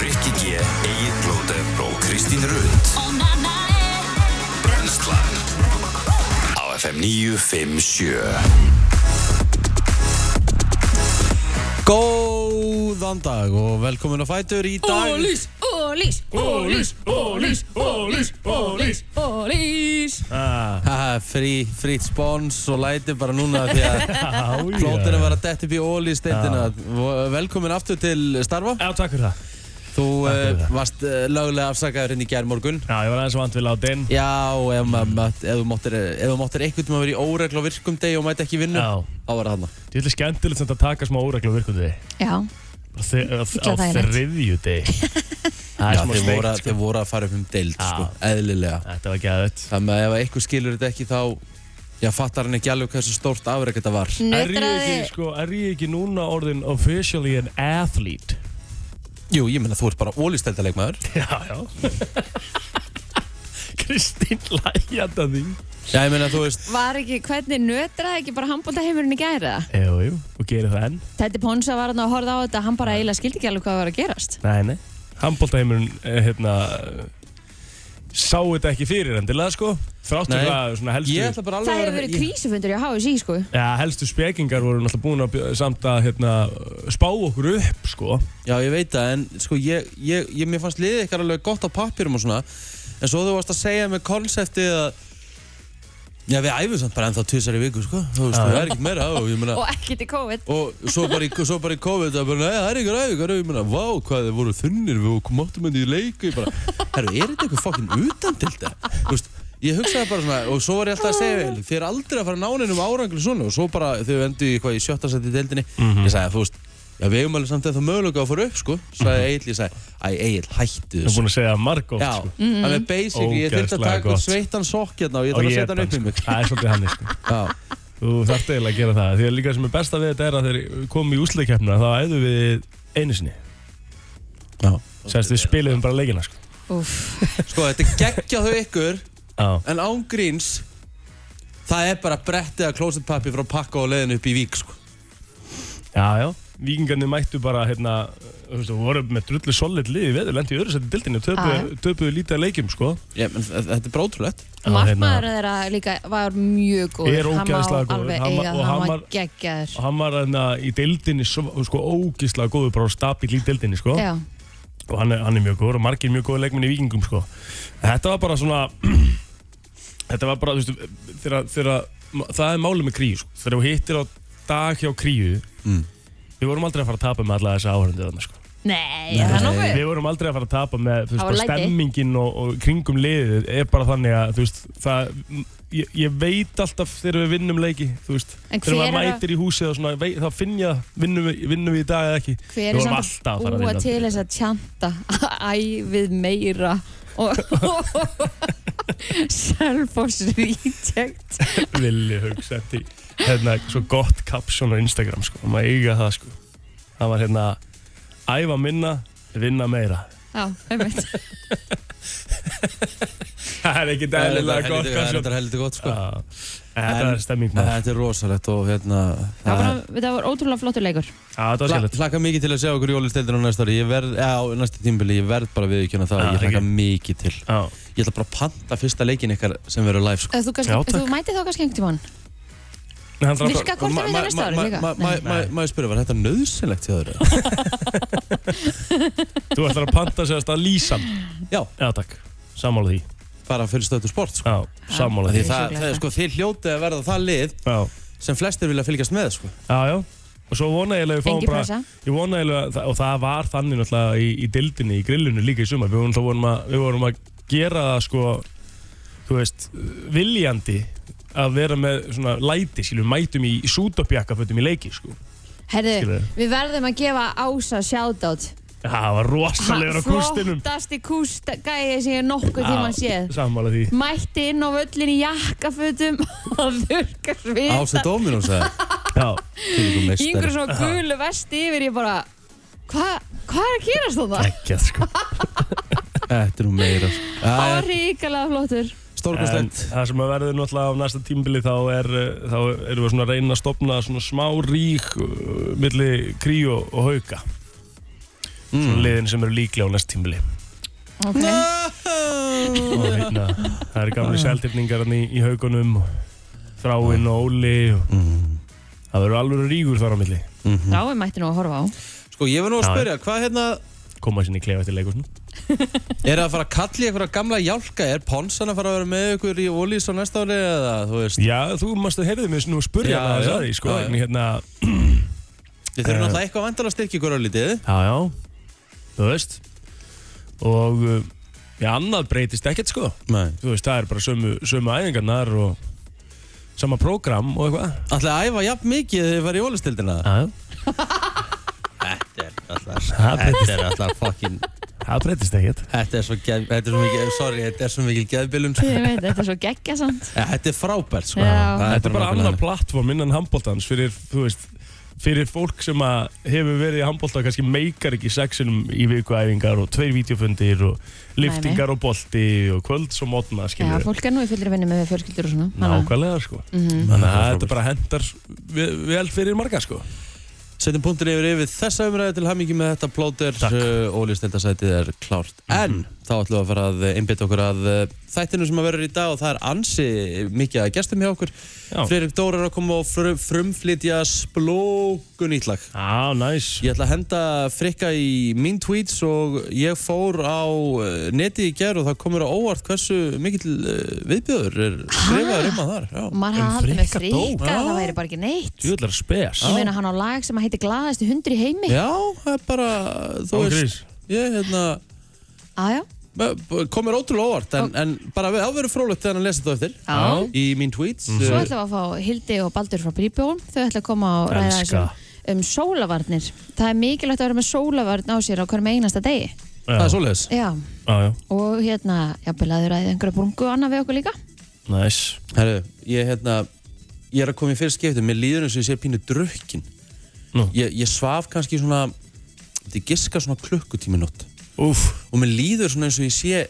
Rikki G, Egil Blóter og Kristín Rund Brenslan Á FM 957 Góðan dag og velkomin á Fætur í dag Ólís, ólís, ólís, ólís, ólís, ólís, ólís Ah. Haha, frí, frýtt spons og læti bara núna því að plóturinn var að detta upp í óli í steindina Velkomin aftur til starfa Já, takk fyrir það. Þú fyrir uh, það. varst uh, lögulega afsakaður hérna í gærmorgun Já, ég var aðeins vant við látinn. Já, og ef, maður mátt- ef þú máttir, ef þú máttir einhvern tíma verið í óregl á virkum degi og mæti ekki í vinnu Já. Þá var það þarna Þetta er skemmtilegt samt að taka smá óreglu á virkundi. Já, Á þe- á- Illa á þægilegt. þriðju deg. Það Já, er smá þeir voru, steikt, að- sko. þeir voru að fara upp um deild, Já. sko, eðlilega Þetta var gæðut. Þannig að ef eitthvað skilur þetta ekki þá Já, fattar hann ekki alveg hversu stórt afreg þetta var Er ég ekki, nötraði sko, er ég ekki núna orðin officially an athlete? Jú, ég menna þú ert bara ólisteldarleikmaður Já, já. Kristín lægjanda því. Já, ég meina þú veist Var ekki, hvernig nötraði ekki bara handbóltaheimurinn í gæra? Jú, jú. Og gerir það enn? Tætti Ponsa var hann að horfa á þetta, hann bara eiginlega skildi ekki alveg hvað var að gerast Nei, nei. Handbóltaheimurinn, eh, hérna, sá þetta ekki fyrir endilega, sko. Þráttur Nei. hvað svona helstu... Ég ætla bara alveg Það að hefur vera- verið ég- krísufundur hjá HSI sko Já, helstu spekingar voru náttúrulega búin að bjó- samt að hérna, spá okkur upp, sko. Já, ég veit það, en sko, ég, ég, ég, mér fannst liðið ykkar alveg gott á pappirum og svona En svo þú varst að segja með konseptið að Já, við æfum samt bara ennþá tvisar í viku, sko Þú veist, það er ekkert meira og ég meina Og ekkert í COVID Og svo bara í, svo bara í COVID að bara, nei, það er ykkur æfingar, og ég meina, vá, hvað þið voru þunnir, við máttum henni í leiku, ég bara, herru, er þetta eitthvað fokkin utan til þetta? Þú veist, ég hugsaði bara svona, og svo var ég alltaf að segja, vel, þið er aldrei að fara nánin um áranglu svona, og svo bara þau endu í hvað í sjötta seti í deildinni, Mhm. ég sagði, þú veist, já, við eigum alveg samt að það mögulega að fara upp, sko, sagði Egil, ég sagði, æ, Egil, hættu Við erum þessu. búin að segja margótt, Já, sko. þannig að basically, ég þurfti að Ógeðslega taka út gott. sveittan sokk hérna og ég Og þarf að ég setja hann upp í sko. mig. Það er svolítið hann, sko. Já, Þú þarft eiginlega að gera það. Því að líka sem er besta við þetta er að þegar við komum í úsleikefna, þá æðum við einu sinni. já. Sérst, við spilum bara leikina, sko. Úff, Sko, þetta er geggjað þau ykkur, Já. En án gríns Það er bara brettið að klósetpappi frá pakka og leiðin upp í vík sko. Já, já. Víkingarnir mættu bara, hérna, þú veist, við vorum með drullu solid liði við, lendi í öðru seti dildinu, töpuðu töpuðu lítið að leikjum, sko. Ég, menn, þ- Þetta er bara ótrúlegt Já, hérna, Markmaður þeirra líka var mjög góð Er ógeðslega góður. Hann Hann var- má alveg eiga, og hann hann var var- geggjaður Og hann var hérna í deildinni, svo- sko, ógislega góður, bara stabil í deildinni, sko. Já, og hann er, hann er mjög góður og margir mjög góður leikmenn í vikingum sko. þetta var bara svona þetta var bara þú veist, þegar, þegar, það er málið með kríu sko. þegar þú hittir á dag hjá kríu Mm. við vorum aldrei að fara að tapa með alla þessa áhörundu þarna sko. nei, það er nokkuð við vorum aldrei að fara að tapa með þú veist, Það voru bara læti. stemmingin og, og kringum liðið er bara þannig að þú veist, það, ég, ég veit alltaf þegar við vinnum leiki þú veist, En þegar hver maður er að- mætir í húsið og svona, vei, þá finn ég að vinnum, við- vinnum við í dag eða ekki Hver Við er vorum samt alltaf að að fara að búa vinna. til þess að tjanta Æ, við meira og Selfoss reject villi hugsa eftir hérna, svo gott kapsjón á Instagram sko, maður eiga það sko það var hérna, æfa minna vinna meira Já, einmitt það er ekki Þetta dælilega er gott helviti- kapsjón Þetta er heldur gott sko. Já, þetta En- er stemming En maður Þetta er rosalegt og hérna Það var, það var ótrúlega flottur leikur Já, þetta var skemmt Hlakka mikið til að segja okkur jólistildinu næsta ári Ég verð, já, næsta tímbili, ég verð bara við ekki það Já, Ég hlakka ekki. mikið til Já, Ég ætla bara að panta fyrsta leikin ykkar sem verður live sko. Ef Þú, Já, kannski, ef takk. þú mætið þá kannski einhvern tímann Nei, hann þarf Virka bara- kortið við það næsta ári líka Nei. Má ég spyrja, var þetta nöðsynlegt hjá þér? þú ætlar að panta sérast að lýsan Já, Já, takk, sammála því bara fyrir stöðu sport sko. Já, sammála Af Því því Ég það, sjúklega það er sko, þið hljótið að verða það lið Já, sem flestir vilja fylgjast með sko. já, já Og svo vona ég að við fáum Engi bara pressa Ég vona eiginlega, og það var þannig náttúrulega í, í dildinni, í grillinu líka í sumar, við vorum, þá vorum, að, við vorum að gera það sko, þú veist, viljandi að vera með svona læti, skilur, við mætum í sútopjakkafötum í leiki, sko. Herðu, Skilurðu. við verðum að gefa Ása shoutout Það var rosalegur á kústinum. Flottasti kúst gæði sem ég nokkuð tímann séð Sammála því. Mætti inn á völlin í jakkafutum og þurrka svita Ásett Óminum sagði Já, Þvílíkur meistari. yngur svona gulu vesti yfir ég bara hvað hva er að gerast þannig? ekki að sko. Þetta er nú meira sko. Það Það var er ríkalega flottur En Stórkostlegt það sem að verður náttúrulega á næsta tímbili þá, er, uh, þá erum við svona eh, að reyna að stopna svona smá rík uh, milli krí og, og hauka. Mm. svona liðin sem eru líklega á næst tímili ok og hérna, það eru Ah. Mm. gamli seldirningar í, í haugunum og þráinn og óli og Mm. það verður alveg rígur þar á milli Rái mætti nú að horfa á Sko, ég var nú að Já, spyrja, hvað hérna koma sinni í klefa eftir leikurinn Er það að fara að kalla í einhverja gamla jálka? Er Ponsan að fara að vera með ykkur í Ólís á næsta ári eða, þú veist Já, þú mást að heyrðu mig svona og spurja Já, maður já. þess að því, sko, Já, já. en hérna, Eh. Þið þurfum náttúrulega eitthvað vandala að styrkja ykkur á lítið já, já, þú veist, og, uh, já, annað breytist ekkert, sko, Nei þú veist, það er bara sömu, sömu æfingarnar og sama prógram og eitthvað. Ætlaði að æfa jafn mikið þegar þið farið í Ólistildina Já, já, Þetta er alltaf Ha, Þetta er alltaf fucking það breytist ekkert. Þetta er svo geð Þetta er svo mikið Sorry, þetta er svo mikið geðbilum sko. Ég veit, þetta er svo geggja samt Ja, Þetta er frábært sko. Já. Það Þetta er bara nákvæmlega annar plattform innan handbóltans fyrir, þú veist, fyrir fólk sem að hefur verið í handbólta og kannski meikar ekki sexinum í vikuæfingar og tveir vídeofundir og liftingar og bolti og kvölds og mótna, Já, skiljum við. fólk er nú í fullri vinni með fjölskyldur og svona Mhm. Þannig að- Nákvæmlega, sko. Mhm. Þannig að þetta bara hendar ve- vel fyrir marga, sko. Setjum punktur yfir yfir þessa umræði til hamingi með þetta plóter Takk. Mhm. Ólistildasætið er klárt En þá ætlum við að fara að einbytta okkur að uh, þættinu sem að verður í dag og það er ansi mikið að gestum hjá okkur Já. Friðrik Dór er að koma og frum, frumflytja splókun ítlag Á, næs. Ég ætla að henda frikka í mín tweets og ég fór á eh, netið í gerð og það komur á óvart hversu mikill eh, viðbjöður er skrifaður um að þar. Og Já. maður Um hafði haldið með Frikka Dó. fríka Já. Það væri bara ekki neitt Jú, ætlar spes. Ég meina hann á lag sem að heiti Glaðasti hundur í heimi Já, það er bara, þú Án grís. veist, ég hérna, Ájá, eh, komur ótrúlega óvart en, en bara við áveru frólægt þegar hann lesa þetta eftir Já. í mín tweets. svo eh, ætlum við að fá Hildi og Baldur frá Bríbjón Þau ætlum að koma og ræða Elska. þessum um sólavarnir Það er mikilvægt að vera með sólavarn á sér á hverjum einasta degi Það Já, er svoleiðis. Já, já, já. og hérna, jafnvel að þau ræði einhverja brungu og annað við okkur líka Næs. Herru, ég hérna, ég er að koma í fyrst skiptum, mér líður eins og ég sé pínu drukkin. Nú. Ég, ég svaf kannski svona, þetta giska svona klukkutími nótt. Úf. og mér líður svona eins og ég sé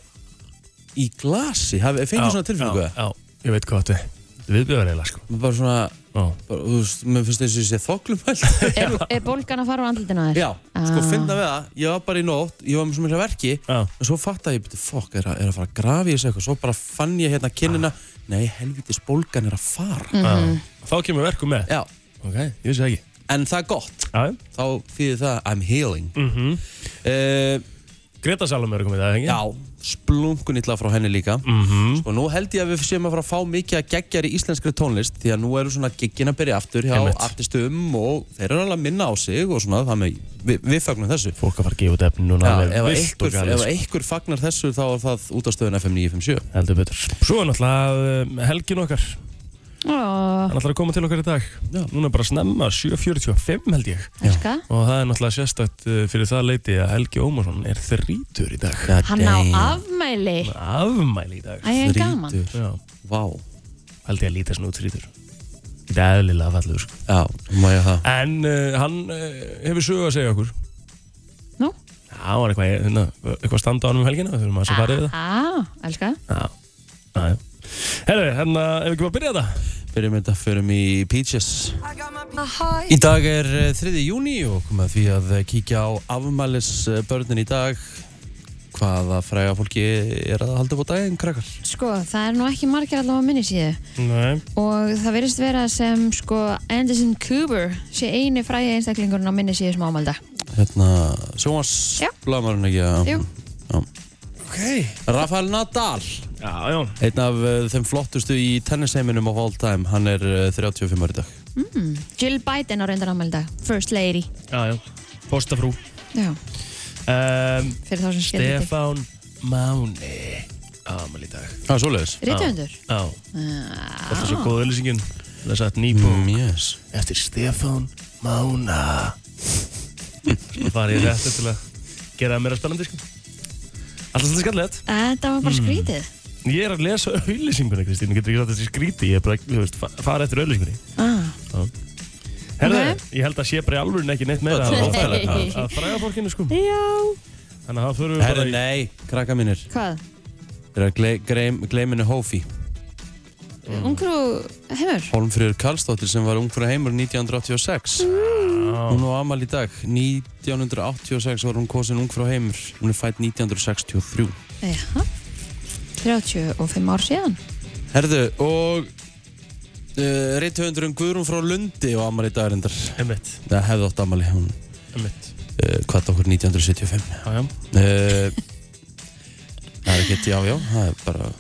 í glasi, hafi, fengið svona tilfinningu Já, það já, ég veit hvað þetta er. Þetta er viðbjöður eiginlega, sko. bara svona, Já. bara, þú veist, mér finnst eins og ég sé þoklumælt Er, er bólgan að fara á andlutinu að þér? já, sko Ah. finna við það, ég var bara í nótt ég var með svo mikla verki, Já. en svo fatt að ég byrja, fokk, er, að- er að fara að grafi í þessu eitthvað svo bara fann ég hérna Ah. kinnina nei, helvitis bólgan er að fara Þá kemur verku með. já, Ok, ég vissi það ekki. en það er gott Já. þá þýðir það, I'm healing mm Mhm, Greta Salome er komið það, ekki? Eh, Mhm. Já, splungun illa frá henni líka Sko, nú held ég að við séum að fara að fá mikið að geggjari íslenskri tónlist Því að nú eru svona giggin að byrja aftur hjá Einmitt. artistum um Og þeir eru alveg að minna á sig og svona Þannig við, við fagnum þessu Fólk að fara að gefa út efni núna. Já, alveg ef, að villt og einhver, galið, ef sko. að einhver fagnar þessu þá er það út á stöðun FM 957 Heldur betur. Svo er náttúrulega um, helgin okkar. Ó, Hann ætlar að koma til okkar í dag. Já. Núna bara snemma, 7.45 held ég. elska Og það er náttúrulega sérstakt uh, fyrir það leiti að Helgi Ómarsson er þrítur í dag. God Hann á damn, afmæli Afmæli í dag. Æ, en gaman þrítugur. Já, Vá, held ég að líta svona út þrítur. Þetta er eðlilega fallegur, sko. já, má ég það En uh, hann uh, hefur sögu að segja okkur. Nú, Já, það var eitthvað, hérna, eitthvað að standa á hann um helgina, við þurfum aðeins að fara yfir það. á, Ah, elska Já, Ah. já, já. Herru, hérna, ef við ekki bara að byrja þetta? Byrjum þetta, förum í Peaches Í dag er eh, 3. júni og komið að því að eh, kíkja á afmælisbörnin í dag hvaða fræga fólki er að halda upp á daginn, krakkar Sko, það er nú ekki margir allavega minni síðu Nei. og það virðist vera sem sko Anderson Cooper sé eini fræði einstaklingurinn á minni síðu sem ámælda hérna, Já. sjónvarsblamarinn ekki að Jú. Já. Ok. Rafael Nadal, Já, já. einn af eh, þeim flottustu í tennisheiminum of all time, hann er eh, 35 ári í dag. Mm. Jill Biden á reyndar ámælda, first lady Já, já. Postafrú. Já, Um, fyrir þá sem skilja þetta Stefán Máni. Amal í dag. Það er svoleiðis. Rítuðundur Já. Ah. Þetta er svo góð öllýsingin. Það er satt nýbú. Mm, yes. Eftir Stefán Mána. Svo farið ég þetta til að gera það meira spennandi, sko. Alltaf svolítið skallett. Þetta var bara skrítið Ég er að lesa auðlýsinguna, Kristín, getur ekki sagt þessi skríti, ég er bara, þú veist, fa- fara eftir auðlýsingunni. ah. Herðu, Ok. ég held að sé bara í alvöru ekki neitt meira Nei. að, að, að, að fræga fólkinu, sko. Já Þannig að það fyrir við Herru, bara í... nei, krakka mínir, Hvað? þeir eru að gle- gleym- gleyminu Hófi. Ungrú heimur? Holmfríður Karlsdóttir sem var ung fyrir heimur 1986. Já, Hún á amal í dag, 1986 var hún kosin ung frá heimur Hún er fætt 1963 Já, 35 ár síðan Herðu, og uh, Rithöfundurinn Guðrún frá Lundi á amal í dag reyndar Emmett, Það hefði átt amali, hún Emmett uh, kvatt okkur 1975 Já, já uh, Það er ekki, já, já, það er bara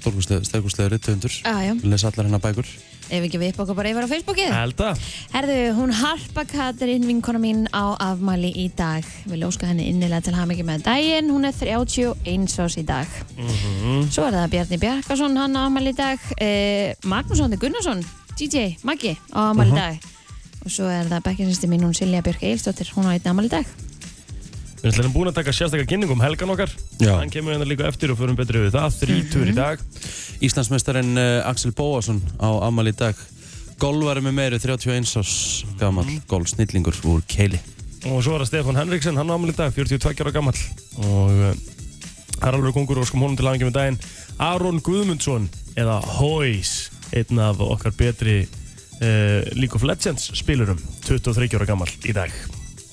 stórkustlega, stærkustlega rithöfundur Já, Ah, já, Les allar hennar bækur ef ekki við upp okkur bara yfir á Facebookið Elda Herðu, hún Harpa Katrin vinkona mín á afmæli í dag Við lóska henni innilega til hamingi með daginn Hún er 31 ás í dag mhm. Svo er það Bjarni Bjarkason, hann á afmæli í dag eh, Magnús Hóndi Gunnarsson, DJ, Maggi á afmæli í dag Og svo er það bekkjaristi mín, hún Silja Björk Eilsdóttir, hún á einn afmæli í dag Við ætlum búin að taka sérstakar kynning um helgan okkar Já. Hann kemur hérna líka eftir og förum betri við það Þrítur í dag Íslandsmestarinn uh, Axel Bóasson á amal í dag Golvari með meiru 31 ás gammal Mhm. mm. golfsnillingur úr keili Og svo er það Stefán Henriksen, hann ámæli í dag, 42 ára gammal Og eh, það er alveg kongur og skum honum til aðeins með daginn Aron Guðmundsson, eða Hóis Einn af okkar betri uh, League of Legends spilurum 23 ára gammal í dag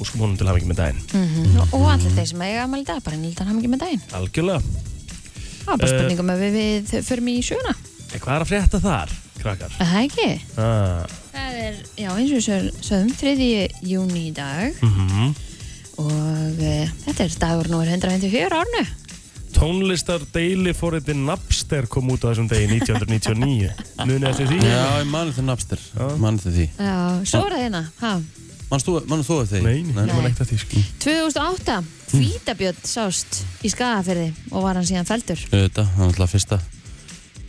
Og skum honum til aðeins með daginn Og allir þeir sem eiga afmæli í dag, bara innilega til hamingi með daginn Algjörlega Það var bara Eh. spurningum að við, við förum í sjöuna Eh, Hvað er að frétta þar, krakkar? Er Það ekki? Ah. Það eh, er, já eins og við sög- sögum, 3. júni í dag Mm og e, þetta er dagur nr. 154 árnu. Tónlistar deili fóriti Napster kom út á þessum degi 1999 Munið eftir því? Já, ég mani þið napster, mani þið því Já, svo er það hérna, ha, Manst þú, mani þú þið því? Nei, nei, Nei. nei. Ekki að því, sko. 2008, Hvítabjörn sást í skagafyrði og var hann síðan feldur. Þetta, það er alltaf fyrsta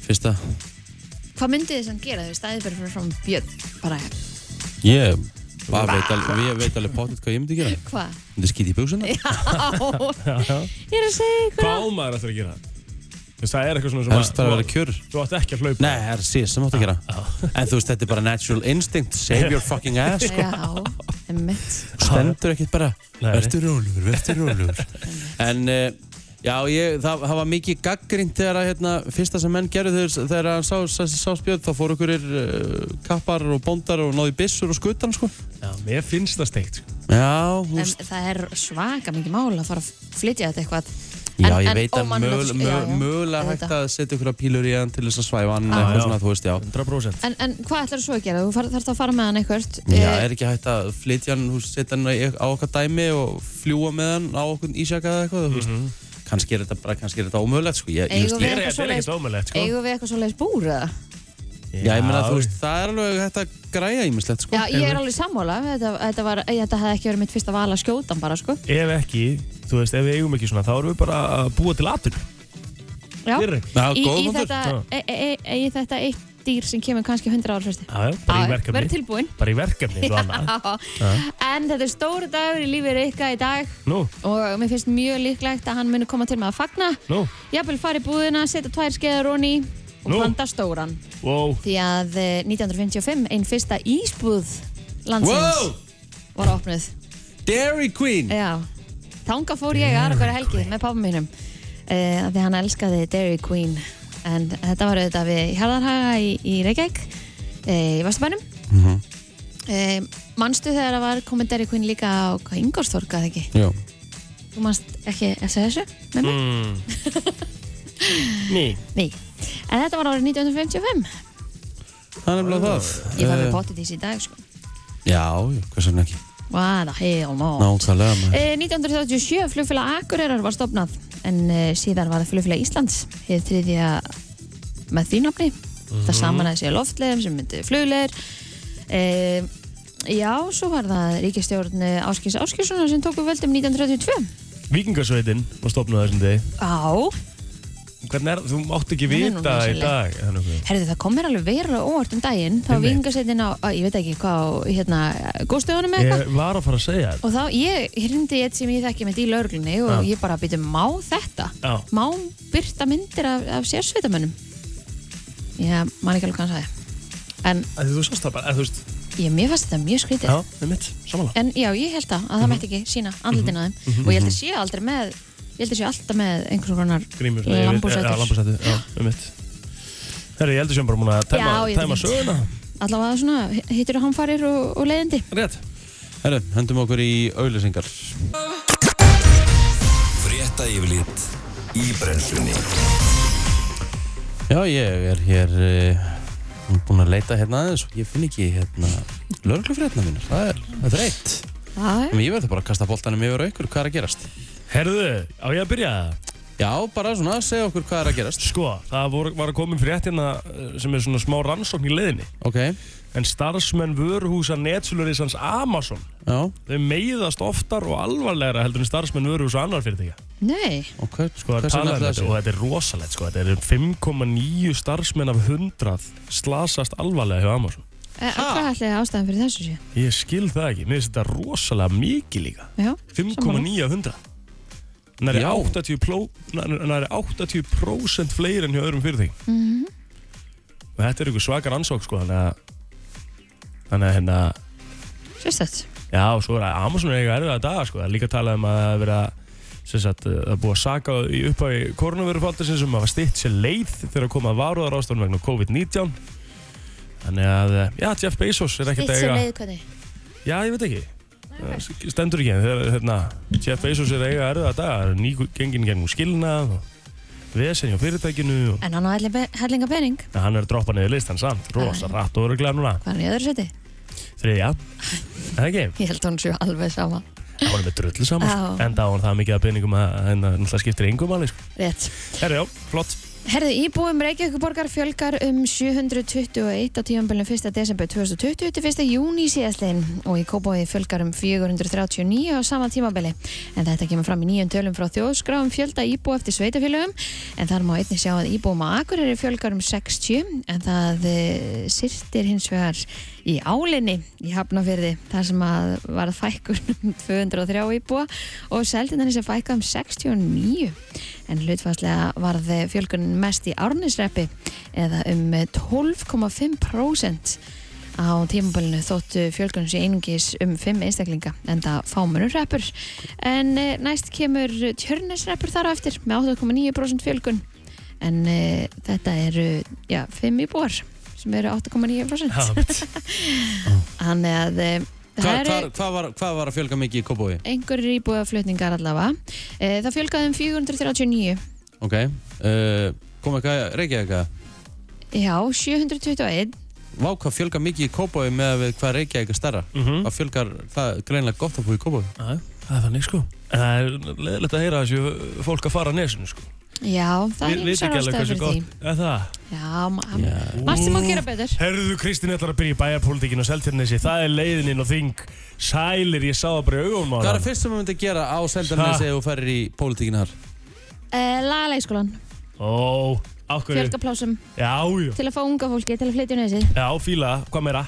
Fyrsta Hvað myndið þið sem gera þau stæðið bara fyrir frá björn? Bara, Eh, Ég, bara veit alveg, ég veit alveg potið hvað ég myndi gera hvað? Myndi skýti í buksuna Já, ég er að segja ykkur. Hvað á maður eftir að gera? Þess, það er eitthvað svona sem Helst bara að vera kjör Þú átt ekki að hlaupa Nei, það er síðan sem átt að gera En þú veist, þetta er bara natural instinct Save your fucking ass sko. Já, emmitt. Stendur ekkert bara Nei. Vertu rólugur, vertu rólugur En eh, já, ég, það, það var mikið gaggrind þegar að hérna, fyrsta sem menn gerðu þegar, þegar hann sá, sá, sá spjöld þá fóru okkur uh, kappar og bóndar og náði byssur og skutan sko. Já, mér finnst það steikt sko. Já, þú En það er svaka mikið mál að fara að flytja þetta eitthvað. Já, En- ég en veit að ómannlegt- mögul- já, mögul- já, mögulega auðvitað. hægt að setja ykkur að pílur í hann til þess að svæfa hann Já, eitthvað já. svona, þú veist, já. 100% En, en hvað ætlar þú svo að gera? Þú far- þarft að fara með hann eitthvað. Já, er ekki hægt að flytja hann, þú veist, setja hann í- á okkar dæmi og fljúa með hann á okkur ísjaka eða eitthvað, þú veist. Kannski er þetta bara, kannski er þetta ómögulegt, sko. Ég, ég, Mhm. Eh, veist, Eigum við ég, Þetta eitthvað er ekkert svoleiðis- ómulegt sko. Eigum við eitthvað svoleiðis búr eða? já, ég meina, þú veist, það er alveg hægt að græja ímislegt, sko. Já, ég er alveg sammála. Þetta, þetta, var, eh, þetta hefði ekki verið mitt fyrsta val að skjóta hann bara, sko. Ef ekki, þú veist, ef við eigum ekki svona Þá erum við bara að búa til atur Já, Fyrir ekki Já, í, góð í, punktur. þetta, e, e, e, e, í þetta eitt dýr sem kemur kannski 100 ára fyrsti. Já, já, bara í verkefni. Verð tilbúin. Bara í verkefni, svo annað En þetta er stóru dagur í lífi Rikka í dag Nú, og mér finnst mjög líklegt að hann muni koma til með að fagna. nú, Jafnvel fara í búðina, setja tvær skeiðar honni og Nú. panta stóran. wow Því að eh, 1955, einn fyrsta ísbúð landsins Wow! var opnuð. Dairy Queen! Já, þanga fór ég aðra hverja helgi með pappa mínum uh, því hann elskaði Dairy Queen en þetta var auðvitað við Hjarðarhaga í, í Reykjavík uh, í Vestabænum mm manstu þegar það var komið Dairy Queen líka á Ingorstorka eða ekki? Já. Þú manst ekki að segja þessu með mig? mm. Ný Nei, en þetta var árið 1955 Það er nefnilega það. ég fann Eh, með potið í dag sko Já, já, hvers vegna ekki? What the hell no Nákvæmlega maður. Eh, 1937 flugfélag Akureyrar var stopnað en eh, síðar var það flugfélag Íslands hér þriðja með því nafni það samanæði sér loftlegum sem myndi flugleir eh, já, svo var það ríkistjórn eh, Áskils Áskilssonar sem tóku völdum 1932 Víkingasveitin var stopnuð á þessum degi á, Hvernig er, þú mátt ekki Hún er nú vita í rosaleg. dag það er nokkuð. herðu það kom mér alveg verulega óvart um daginn þá Einmitt. vingasettin á, á, ég veit ekki hvað á, hérna, góðstöðunum eða eitthvað Ég var að fara að segja þetta Og þá, ég hindi eitt sem ég þekki með í lauruglunni og Já. ég bara býtu, má þetta? Já. Má byrta myndir af, af sérsveitamönnum? Já, maður ekki alveg hvað hann sagði. En Af því Þú sást það bara, eða þú veist ég, mér fannst þetta mjög skrítið. Já, Mhm. með mitt, samanlega En já, ég held það, að það mætti ekki sína Mhm. andlutin á þeim. Og ég held að sé aldrei með, ég held að sé alltaf með einhvers konar Grímur eh, Já, lambhúsætur. lambúrsættu, já, með mitt Herri, ég heldur sem bara múin að tæma, Já, ég tæma held- söguna Allavega svona hittir og hamfarir og, og leiðindi. Rétt Herru, hendum okkur í auðlýsingar Frétta yfirlit í brennslunni Já, ég er hér uh, búin að leita hérna aðeins og ég finn ekki hérna lörglufrétna mínir, það er, það er reitt Já, Ég verður bara að kasta boltanum yfir á ykkur, hvað er að gerast? Herðu, á ég að byrja það? Já, bara svona, segja okkur hvað er að gerast Sko, það voru, var að koma inn frétt hérna eh, sem er svona smá rannsókn í leiðinni Ok, en starfsmenn vöruhúsa netsulurisans Amazon já, þau meiðast oftar og alvarlegra heldur en starfsmenn vöruhúsa annar fyrirtækja nei, ok, sko, það er hversu talað um nefnilega þetta og þetta er rosalegt sko, þetta er 5,9 starfsmenn af 100 slasast alvarlega hjá Amazon e, hvað ætlaði ástæðan fyrir þessu sé? ég skil það ekki, mér finnst þetta rosalega mikið líka Já, 5,9 af 100 næri Já. 80, pló, næri 80 fleiri enn hjá öðrum fyrirtækjum mhm. og þetta er einhver svakar ansók sko, þannig að þannig að hérna sérstætt já, og svo er að Amazon er eiga erfið að daga sko, það er líka talað um að það er verið að sem sagt, það er búið að saka í upphafi koronavörufaldisins sem að stýtt sér leið þegar að koma að varuðar ástofan vegna COVID-19 þannig að, eh, já, Jeff Bezos er ekkert Eitt að sem eiga leið hvernig Já, ég veit ekki Það Stendur ekki en þegar hérna, Jeff Bezos er að eiga erða daga Það er ný gengin gengum skilnað og vesen hjá fyrirtækinu og En hann á helli- hellinga pening, En hann er að droppa niður listan samt Rosa rætt og öruglega núna hvað er hann í öðru seti? Þriðja Það ekki Ég held að hann séu alveg sama Það var með drullu saman sko. Já. Enda á hann það mikið að peningum að henn náttúrulega skiptir engum alveg sko. Rétt Herra, já, flott Herðu, íbúum Reykjavíkuborgar fjölgar um 721 á tíumbelinu 1. desember 2020 til 1. júni síðastliðin og í Kóbói fjölgar um 439 á sama tímabili. En þetta kemur fram í nýjum tölum frá þjóðskrá um fjölda íbú eftir sveitafélögum en þar má einnig sjá að íbúum á Akureyri fjölgar um 60 en það eh, syrtir hins vegar í álinni í Hafnafyrði þar sem að var fækkun um 203 íbúa og seldinarni sem fækka um 69 en hlutfallega varð fjölgunin mest í árnisreppi eða um 12,5% á tímabölinu þóttu fjölgun sé einungis um 5 einstaklinga en það fámunur reppur en eh, næst kemur tjörnisreppur þar á eftir með 8,9% fjölgun en e, þetta eru ja, 5 íbúar sem eru 8,9% Já, mitt. þannig að e, Hvað, hvað, hvað, var, hvað var að fjölga mikið í Kópói? einhverjir íbúðaflutningar allavega. E, það fjölgaði um 439, Ok, uh, kom eitthvað, reykja eitthvað já 721, Vá, hvað fjölga mikið í Kópói með að við hvað reykja eitthvað stærra Mhm. Hvað fjölgar, það er greinlega gott að búa í Kópói Já, Það er þannig sko En það er leðilegt að heyra þessu fólk að fara að nesinu sko já það Við- er við einhverjar ekki alveg ástæður hversu fyrir gott- því. Er það? Já, ma- Já. margt sem má gera betur. Herðu, Kristín ætlar að byrja í bæjarpólitíkinu og seltjarnesi Það er leiðin inn á þing Sælir, ég sá það bara í augunum á Hvað er hann. það fyrst sem maður myndi að gera á Seldarnesi ef þú ferir í pólitíkinu þar? E, Lagalægskólan, Ó, ákveður Já, fjölgaplásum já, til að fá unga fólki til að flytja um nesið. já, fíla, hvað meira?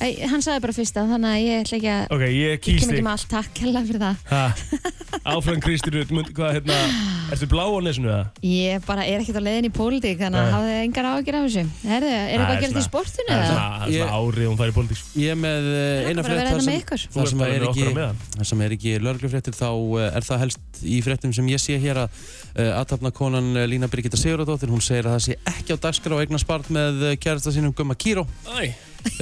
E, hann sagði bara fyrsta, þannig að ég ætla ekki að... Ok, ég Ég kýst kem ekki þig með allt, takk hella fyrir það. Ha, Áfram Kristín, Rut, mun- hvað hérna Ertu blá á nesinu það? Ég bara er ekkert á leiðin í pólitík, þannig að Nei. hafði engar ágjur af þessu. Herðu, er eitthvað Það er að gera því svona- sportinu Það er eða? svona- það er Ég- svona árið hún fær í pólitík Ég er með uh, eina bara frétt að vera þar hérna með sem, ykkur. Þú þar sem ert bara er með okkur á ekki meðan. þar sem er ekki lörglufréttir þá uh, er það helst í fréttum sem ég sé hér að uh, aðtapnakonan uh, Lína Birgitta Sigurðardóttir hún segir að það sé ekki á dagskrá að eigna spart með uh, kærasta sínum Gumma Kíró Æ,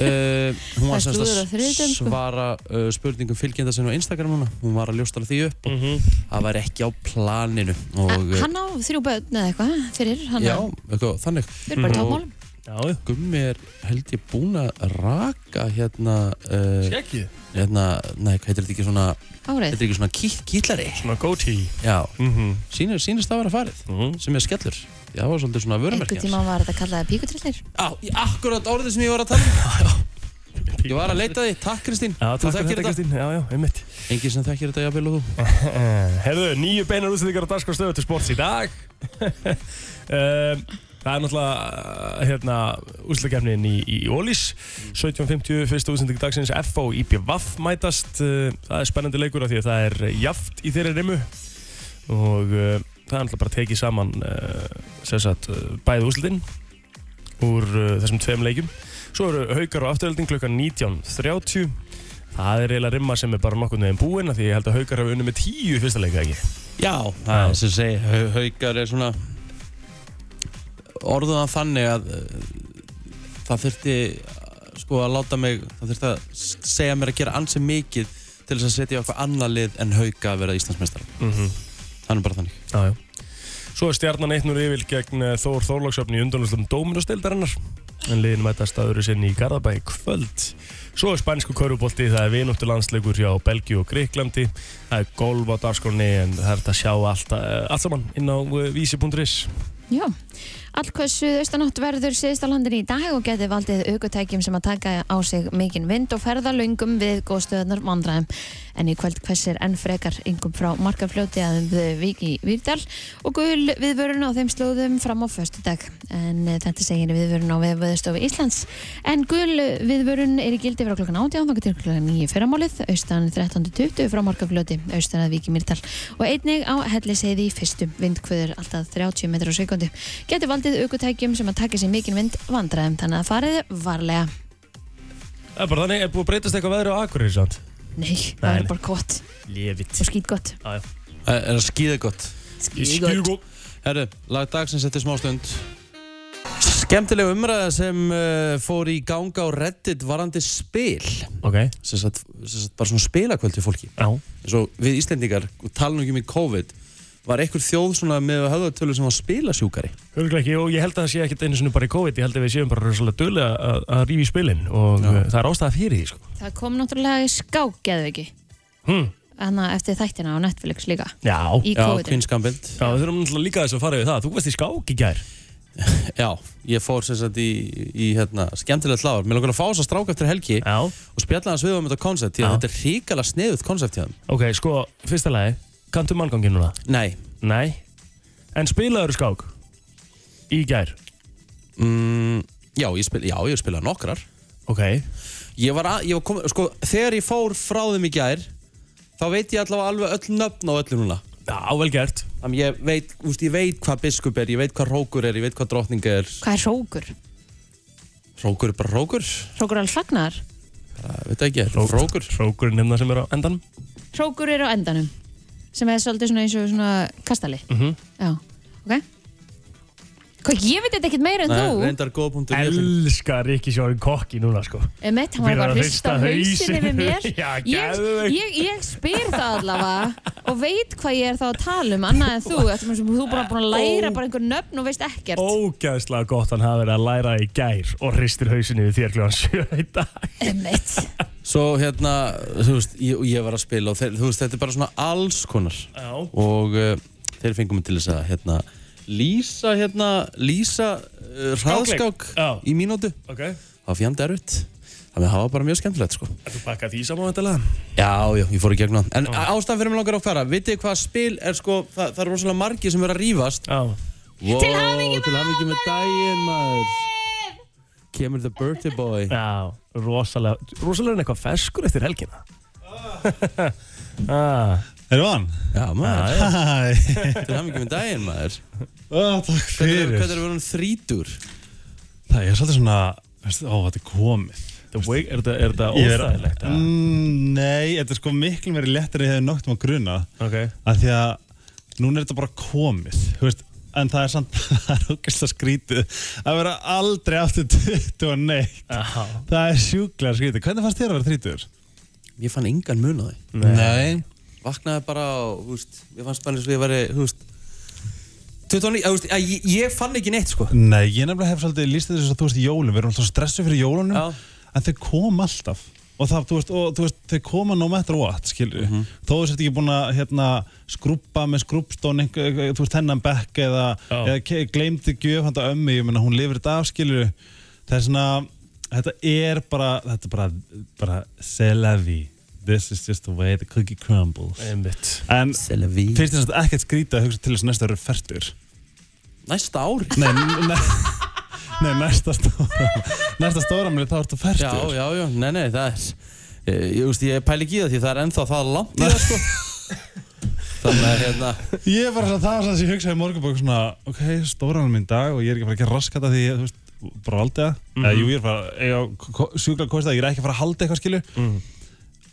uh, hún var Það er semst slúður á að þriðjudögum, sko. svara uh, spurningum fylgjenda sinna á Instagram núna hún var að ljóstara því upp Mhm. og það var ekki á planinu og, Ha- uh, Hann á þrjú börn eða eitthvað fyrir, hann já, á, eitthvað, þannig fyrir bara Mhm. támál. já, já. Gummi er held ég búinn að raka hérna, uh, skekkið hérna nei, hvað heitir þetta ekki svona Árið. Þetta er ekki svona kýll, kýllari Svona góti Já, Mhm. sínir, sínist það var að farið Mhm. sem er skellur Já, það var svolítið svona einhvern vörumerkjar tíma var þetta kallaði píkutrillnir Á, í akkurat orðið sem ég var að tala um. Ég var að leita því, takk Kristín Já, Þú takk fyrir þekkir þetta Kristín, já, já, einmitt Engin sem þekkir þetta, jafnvel og þú Eh, Herðu, nýju beinar útsendingar á dagskvæmstöðu til sports í dag um, Það er náttúrulega eh, hérna, úrslagefnin í, í Ólís 17.50, fyrsta útsending dagsins FO IPVAF mætast eh, Það er spennandi leikur af því að það er jaft í þeirri rimu og uh, það er náttúrulega bara tekið saman uh, sagt, uh, bæði úrslitin úr uh, þessum tveim leikum Svo eru haukar og afturhelding klukkan 19.30 Það er eiginlega rimma sem er bara nokkur neginn búin af því ég held að haukar hafa unni með tíu í fyrsta leika ekki Já, það er sem segi hau- Haukar er svona orðuðan þannig að uh, það þurfti uh, sko að láta mig það þurfti að s- segja mér að gera ansi mikið til þess að setja okkur annað lið en hauka að vera Íslandsmeistar Þannig bara þannig Já, já. Svo er stjarnan 1-0 yfir gegn eh, Þór Þórlagsöfni í undanústum Dóminustildarinnar en liðin mætast aður sinni í Garðabæ í kvöld. Svo er spænsku kaurubolti, það er vinóttu landsleikur hjá Belgíu og Greiklandi, það er golf á dagskroni en það er hægt að sjá allt, eh, allt saman inn á eh, vísi.is. Já, allkvæð suðaustanátt verður síðust á landinni í dag og geti valdið aukutækjum sem að taka á sig mikinn vind og ferða lungum við góðstöðunar vandræðum. En í kvöld hversir enn frekar yngum frá markafljóti að við Viki Výrdal og gul viðvörun á þeim slóðum fram á föstu dag. En eh, þetta segir viðvörun á viðvöðustofu Íslands. En gul viðvörun er í gildi frá klokkan 18 þangað til klokkan 9 fyrramálið, austan 13.20 frá markafljóti, austan að Viki Mýrdal og einnig á helliseiði í fyrstu vindkvöður alltaf 30 metrar á sekundi getur valdið aukutækjum sem að taka sér mikinn vind vandræðum þannig að farið varlega Það er bara þannig, er búið að breytast eitthvað veðri á Akureyri samt? nei, það Nei, er nei. bara gott Lefit. og skýt gott Það er að skýða gott Skjúgó. Herru, lag dagsins eftir smá stund Skemmtileg umræða sem uh, fór í ganga á Reddit varandi spil Ok, sem sagt, sem sagt bara svona spilakvöld til fólki já. eins og við Íslendingar, og tala nú ekki um í COVID var einhver þjóð svona með höfðatölu sem var spilasjúkari Hörgulega ekki og ég held að það sé ekkert einu sinni bara í COVID, ég held að við séum bara rosalega dölu að, að rífi spilin og Já. já. það er ástæða fyrir því sko. það kom náttúrulega í skák geðu ekki Hmm. þannig að eftir þættina á Netflix líka Já. í Já, COVID Queen's Gambit Já, við þurfum náttúrulega líka þess að fara yfir það. Þú varst í skák í gær. Já, ég fór sem sagt í, í hérna, skemmtilegt lágar Mér langar að fá þess að stráka eftir helgi Já. og spjalla hans við um þetta koncept því Já. að þetta er hrikalega sniðuð koncept hjá þeim Ok, sko, fyrsta lagi, kanntu manngangin núna? Nei, Nei. En spilaður skák? Í gær. mm, já, ég spil, já, ég spila nokkrar Ok. Ég var, að, ég var komin, sko, þegar ég fór frá þeim í gær þá veit ég allavega alveg öll nöfn á öllu núna Já, vel gert. Þannig ég veit, úst, ég veit hvað biskup er, ég veit hvað rókur er, ég veit hvað drottning er hvað er hrókur? Rókur er bara rókur, hrókur alls fagnar? það veit ekki, er rókur Rókur nefna hérna sem er á endan. hrókur er á endanum sem er svolítið svona eins og svona kastali Mhm. já, ok hvað, ég veit þetta ekkert meira en Nei, þú Reyndar góða punktur ég finn- Elskar ekki sjórin kokki núna, sko. Um eitt, hann Fyrir var eitthvað að að hrista hrista hausinni hausinn. við mér Já, ég, geðveikt. ég, ég spyr það allavega og veit hvað ég er þá að tala um annað en þú, þetta er sem þú bara búin að læra bara einhver nöfn og veist ekkert Ógæðslega gott hann hafi verið að læra í gær og hristir hausinni við þér kljóðan sjö í dag. um eitt Svo hérna, þú veist, ég, ég var að spila og þeir, þú veist, þetta er bara svona alls konar Já. og uh, þeir fengum mig til þess að hérna, lýsa hérna, lýsa uh, hraðskák Já. í mínútu Ok. það var fjandi erfitt þannig að það var bara mjög skemmtilegt sko Er þú pakkað því saman vantilega? Já, já, ég fór í gegnum það En ástæðan fyrir mig langar að fara Vitið þið hvað spil er sko Það, það er rosalega margir sem eru að rífast Já. wow, Til hamingju með Til hamingi með daginn maður Kemur the birthday boy Já, rosalega, rosalega er hann eitthvað ferskur eftir helgina. Ah. Erum við hann? Já maður, Hæ, til hamingi með daginn maður Ó, takk Hvernig fyrir er við hann þrítur? Það er svolítið svona, Ah, veistu, ó, þetta er komið The wig, er þetta- er þetta Ég er- óþægilegt? eða? Mm, Nei, þetta er sko miklu verið lettir ég hefði nótt um að gruna Ok, af því að núna er þetta bara komið þú veist, en það er samt það er ógæslega skrítið að vera aldrei aftur 20 og neitt Aha. það er sjúklega skrítið hvernig fannst þér að vera 30? Ég fann engan mun á því Nei. Vaknaði bara og, þú veist Ég fannst bara eins og ég væri, þú veist 29, að, þú veist, að, ég, ég fann ekki neitt sko Nei, ég nefnilega hef svolítið líst þessu að þú veist í jólum, við erum alltaf stressuð fyrir jólunum Já. en þau kom alltaf og, það, þú veist, og þú veist, þau koma no matter what skilur, Mhm. mm -hmm. þó þú sért ekki búin að hérna, skrúppa með skrúpstón einhver- einhver- þú veist hennan bekk eða, Já. eða ke- gleymdi gjöf handa ömmu ég meina hún lifir þetta af skilur það er svona, þetta er bara þetta er bara, bara c'est la vie this is just the way the cookie crumbles einmitt. en C'est la vie. finnst þér samt ekkert skrítið að hugsa til þess að næsta eru færtur Næsta ári Nei, ne nei næsta stóra Næsta stóra mér þá ertu færtur Já, já, já, nei, nei, það er eh, Ég veist, ég pæli ekki í það því það er ennþá það langt í það, sko Þannig að, hérna Ég er bara svona það var svona sem ég hugsaði í morgunbók svona Ok, stóra mér í dag og ég er ekki að fara að gera raskata því ég, þú veist, bara valdi það Mhm. Eða jú, ég er bara, ég á sjúkla kosta ég er ekki að fara að halda eitthvað skilu Mhm. Mhm,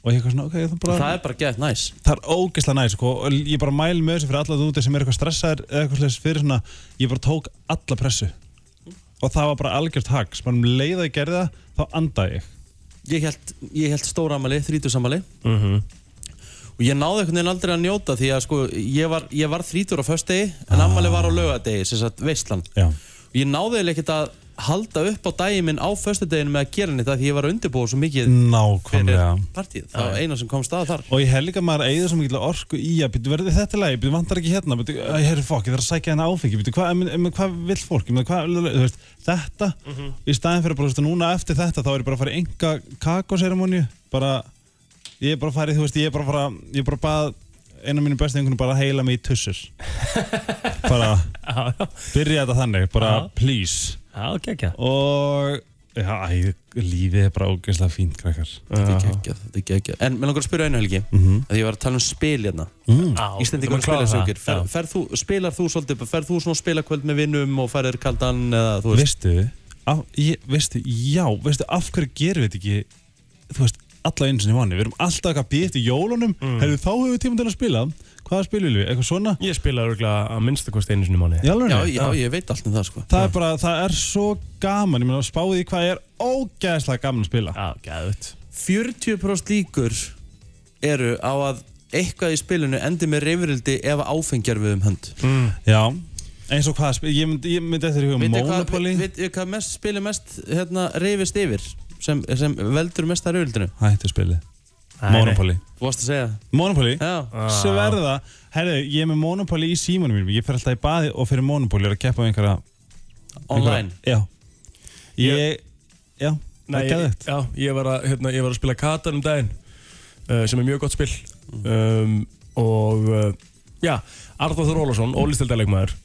Og ég er eitthvað svona, ok, það er bara það er bara gett næs það er ógeðslega næs sko, og ég bara mæl með þessu fyrir alla þúti sem er eitthvað stressaðir eða eitthvað slags fyrir svona ég bara tók alla pressu og það var bara algjört hag sem um leið að ég gerði það, þá andaði ég Ég held, ég held stóra amali, þrítusamali Mm -hmm. og ég náði einhvern veginn aldrei að njóta því að sko, ég var, ég var þrítur á föstudegi en ammali var á lögadegi, sem sagt veistlan Já. og ég náði eiginlega ekkert að halda upp á daginn minn á föstudeginu með að gera nýtt því ég var að undirbúa svo mikið fyrir Nákvæmlega partíð, það var eina sem kom stað þar Og ég held líka að maður eigður svo mikil orku í að byrju verði þetta lagi, byrju vantar ekki hérna, byrju, herri fokk, ég þarf að sækja hérna áfengi, byrju, hvað, em- em- hvað vill fólk, em- hvað, þú veist, þetta, Mhm. í staðin fyrir bara, þú veist, núna eftir þetta, þá er ég bara að fara í enga kakoseremonju, bara, ég er bara að fara í, þú veist, ég er bara að fara, ég er bara að bað einu af mínu bestu einhvern bara að heila mig í tussur, bara, Já, já, byrja þetta þannig, bara, Já. please, já, gekkja og, já, æ, lífið er bara ógeðslega fínt, krakkar. þetta er geggjað, þetta er geggjað en mér langar að spyrja einu helgi Mhm. að ég var að tala um spil hérna Mm. Íslendingar að spila sig okkur fer, fer þú, spilar þú svolítið, ferð þú svona spilakvöld með vinnum og ferðir kaldan eða þú veist veistu, af, ég, veistu, já, veistu, af hverju gerum við þetta ekki, þú veist, alla einu sinni vanni, við erum alltaf eitthvað að býja eftir jólunum, mm. herru, þá höfum við tíma til að spila, hvaða spilum við, eitthvað svona, Ég spila örgulega að minnsta kosti einu sinni í mánuði í alveg, já, já, ég veit allt um það sko það er bara, það er svo gaman, ég meina, spáði í hvað er ógæðslega gaman að spila, Já, gæðut 40% líkur eru á að eitthvað í spilinu endi með reyfrildi ef áfengjar við um hönd Mm. já, eins og hvaða spil, ég myndi, ég myndi eftir í huga Vitið hvað, Monopoly, veit, veit, hvað mest, spilið mest hérna, reyfist yfir sem, sem veldur mest að reyfrildinu hættu spilið, Monopoly, Þú varst að segja Monopoly, Ah. Já, sverða, herru, ég er með Monopoly í símanum mínum, ég fer alltaf í baði og fyrir Monopoly er að keppa við einhverja online Já Ég, já, það Nei, er ég, geðvægt já, ég, var að, hérna, ég var að spila Katan um daginn uh, sem er mjög gott spil Mm. um, og uh, já, Arnóð Þór Ólafsson, ólistildaleikmaður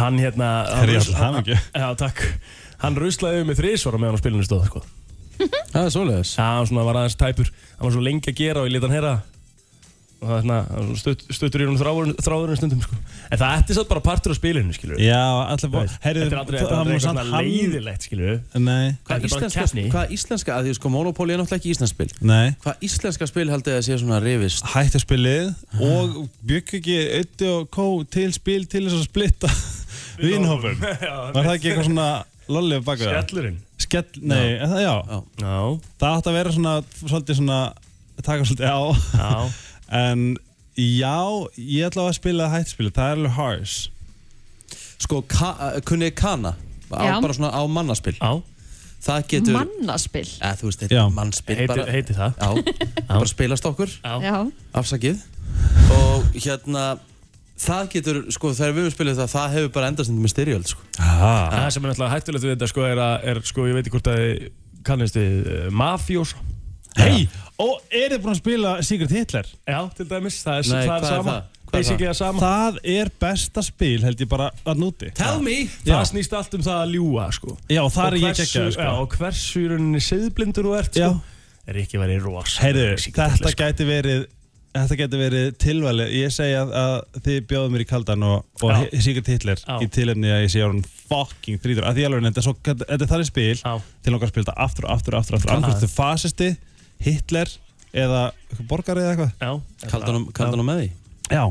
hann hérna hann Herri, ég rusl- ætla það mikið. Já, takk Hann ruslaði um með þrísvara meðan á spilinu stóð sko. Það er svoleiðis Já, hann svona var aðeins tæpur Hann var svo lengi að gera og ég leta hann heyra og það er hérna, hann var svona stutt, stuttur í hún þráðurinn þráður stundum sko. En það ætti satt bara partur á spilinu, skilur við. Já, allir bara Herri, Þetta er aldrei, þetta er aldrei það má eitthvað samt svona hann leiðilegt, skilur við. Nei, Hvað Þetta er bara íslenska, keppni. hvað íslenska, að því sko Monopoly er náttúrulega ekki íslensk spil nei Hvað íslenska spil haldið að sé svona reyfist? Hættu spilið og bygg ekki Ötti og kó til spil til þess að splitta Vínhópum Var það ekki eitthvað svona lolli á baka það? Skellurinn Skell, nei, en það, já Já, Það átti að vera svona, svolítið svona Taka svolítið á já En já, ég ætla að spila hættu spilið Það er alveg hars Sko, ka, kunnið kana á, Já. bara svona á mannaspil Já, Það getur Mannaspill að, Þú veist, Já. þetta er mannspil heiti, bara, heiti það Já, bara spilast okkur Já, Já, afsakið og hérna það getur, sko þegar við höfum spilað það það hefur bara endast með styrjöld sko. það ah. sem er náttúrulega hættulegt við þetta sko er að, er, sko, ég veit ekki hvort að þið kannist við uh, mafjós Hei, og eru þið búin að spila Secret Hitler? Já, til dæmis, það er, Nei, það hvað er er sama það? Hvað er Basically það sama Það er besta spil held ég bara að núti Tell me! Það snýst allt um það að ljúa sko Já, það er Og ég hversu- ekki Já, sko. og hversu í rauninni seðblindur þú ert Já. sko Er ekki verið rosa Heyrðu, þetta sko. gæti verið Þetta gæti verið tilvæli Ég segi að, að þið bjóðum mér í kaldan og, og Já. he- Secret Hitler Já. í tilefni að ég sé árun fucking þrítur að því alveg þetta er, svo, þetta er þannig spil Já. til okkar að spila þetta aftur og aftur og aftur, aftur. annars hvort þið fasisti, Hitler eða eitthvað borgari eða eitthvað Já, Kaldan Hmm. hann með því Já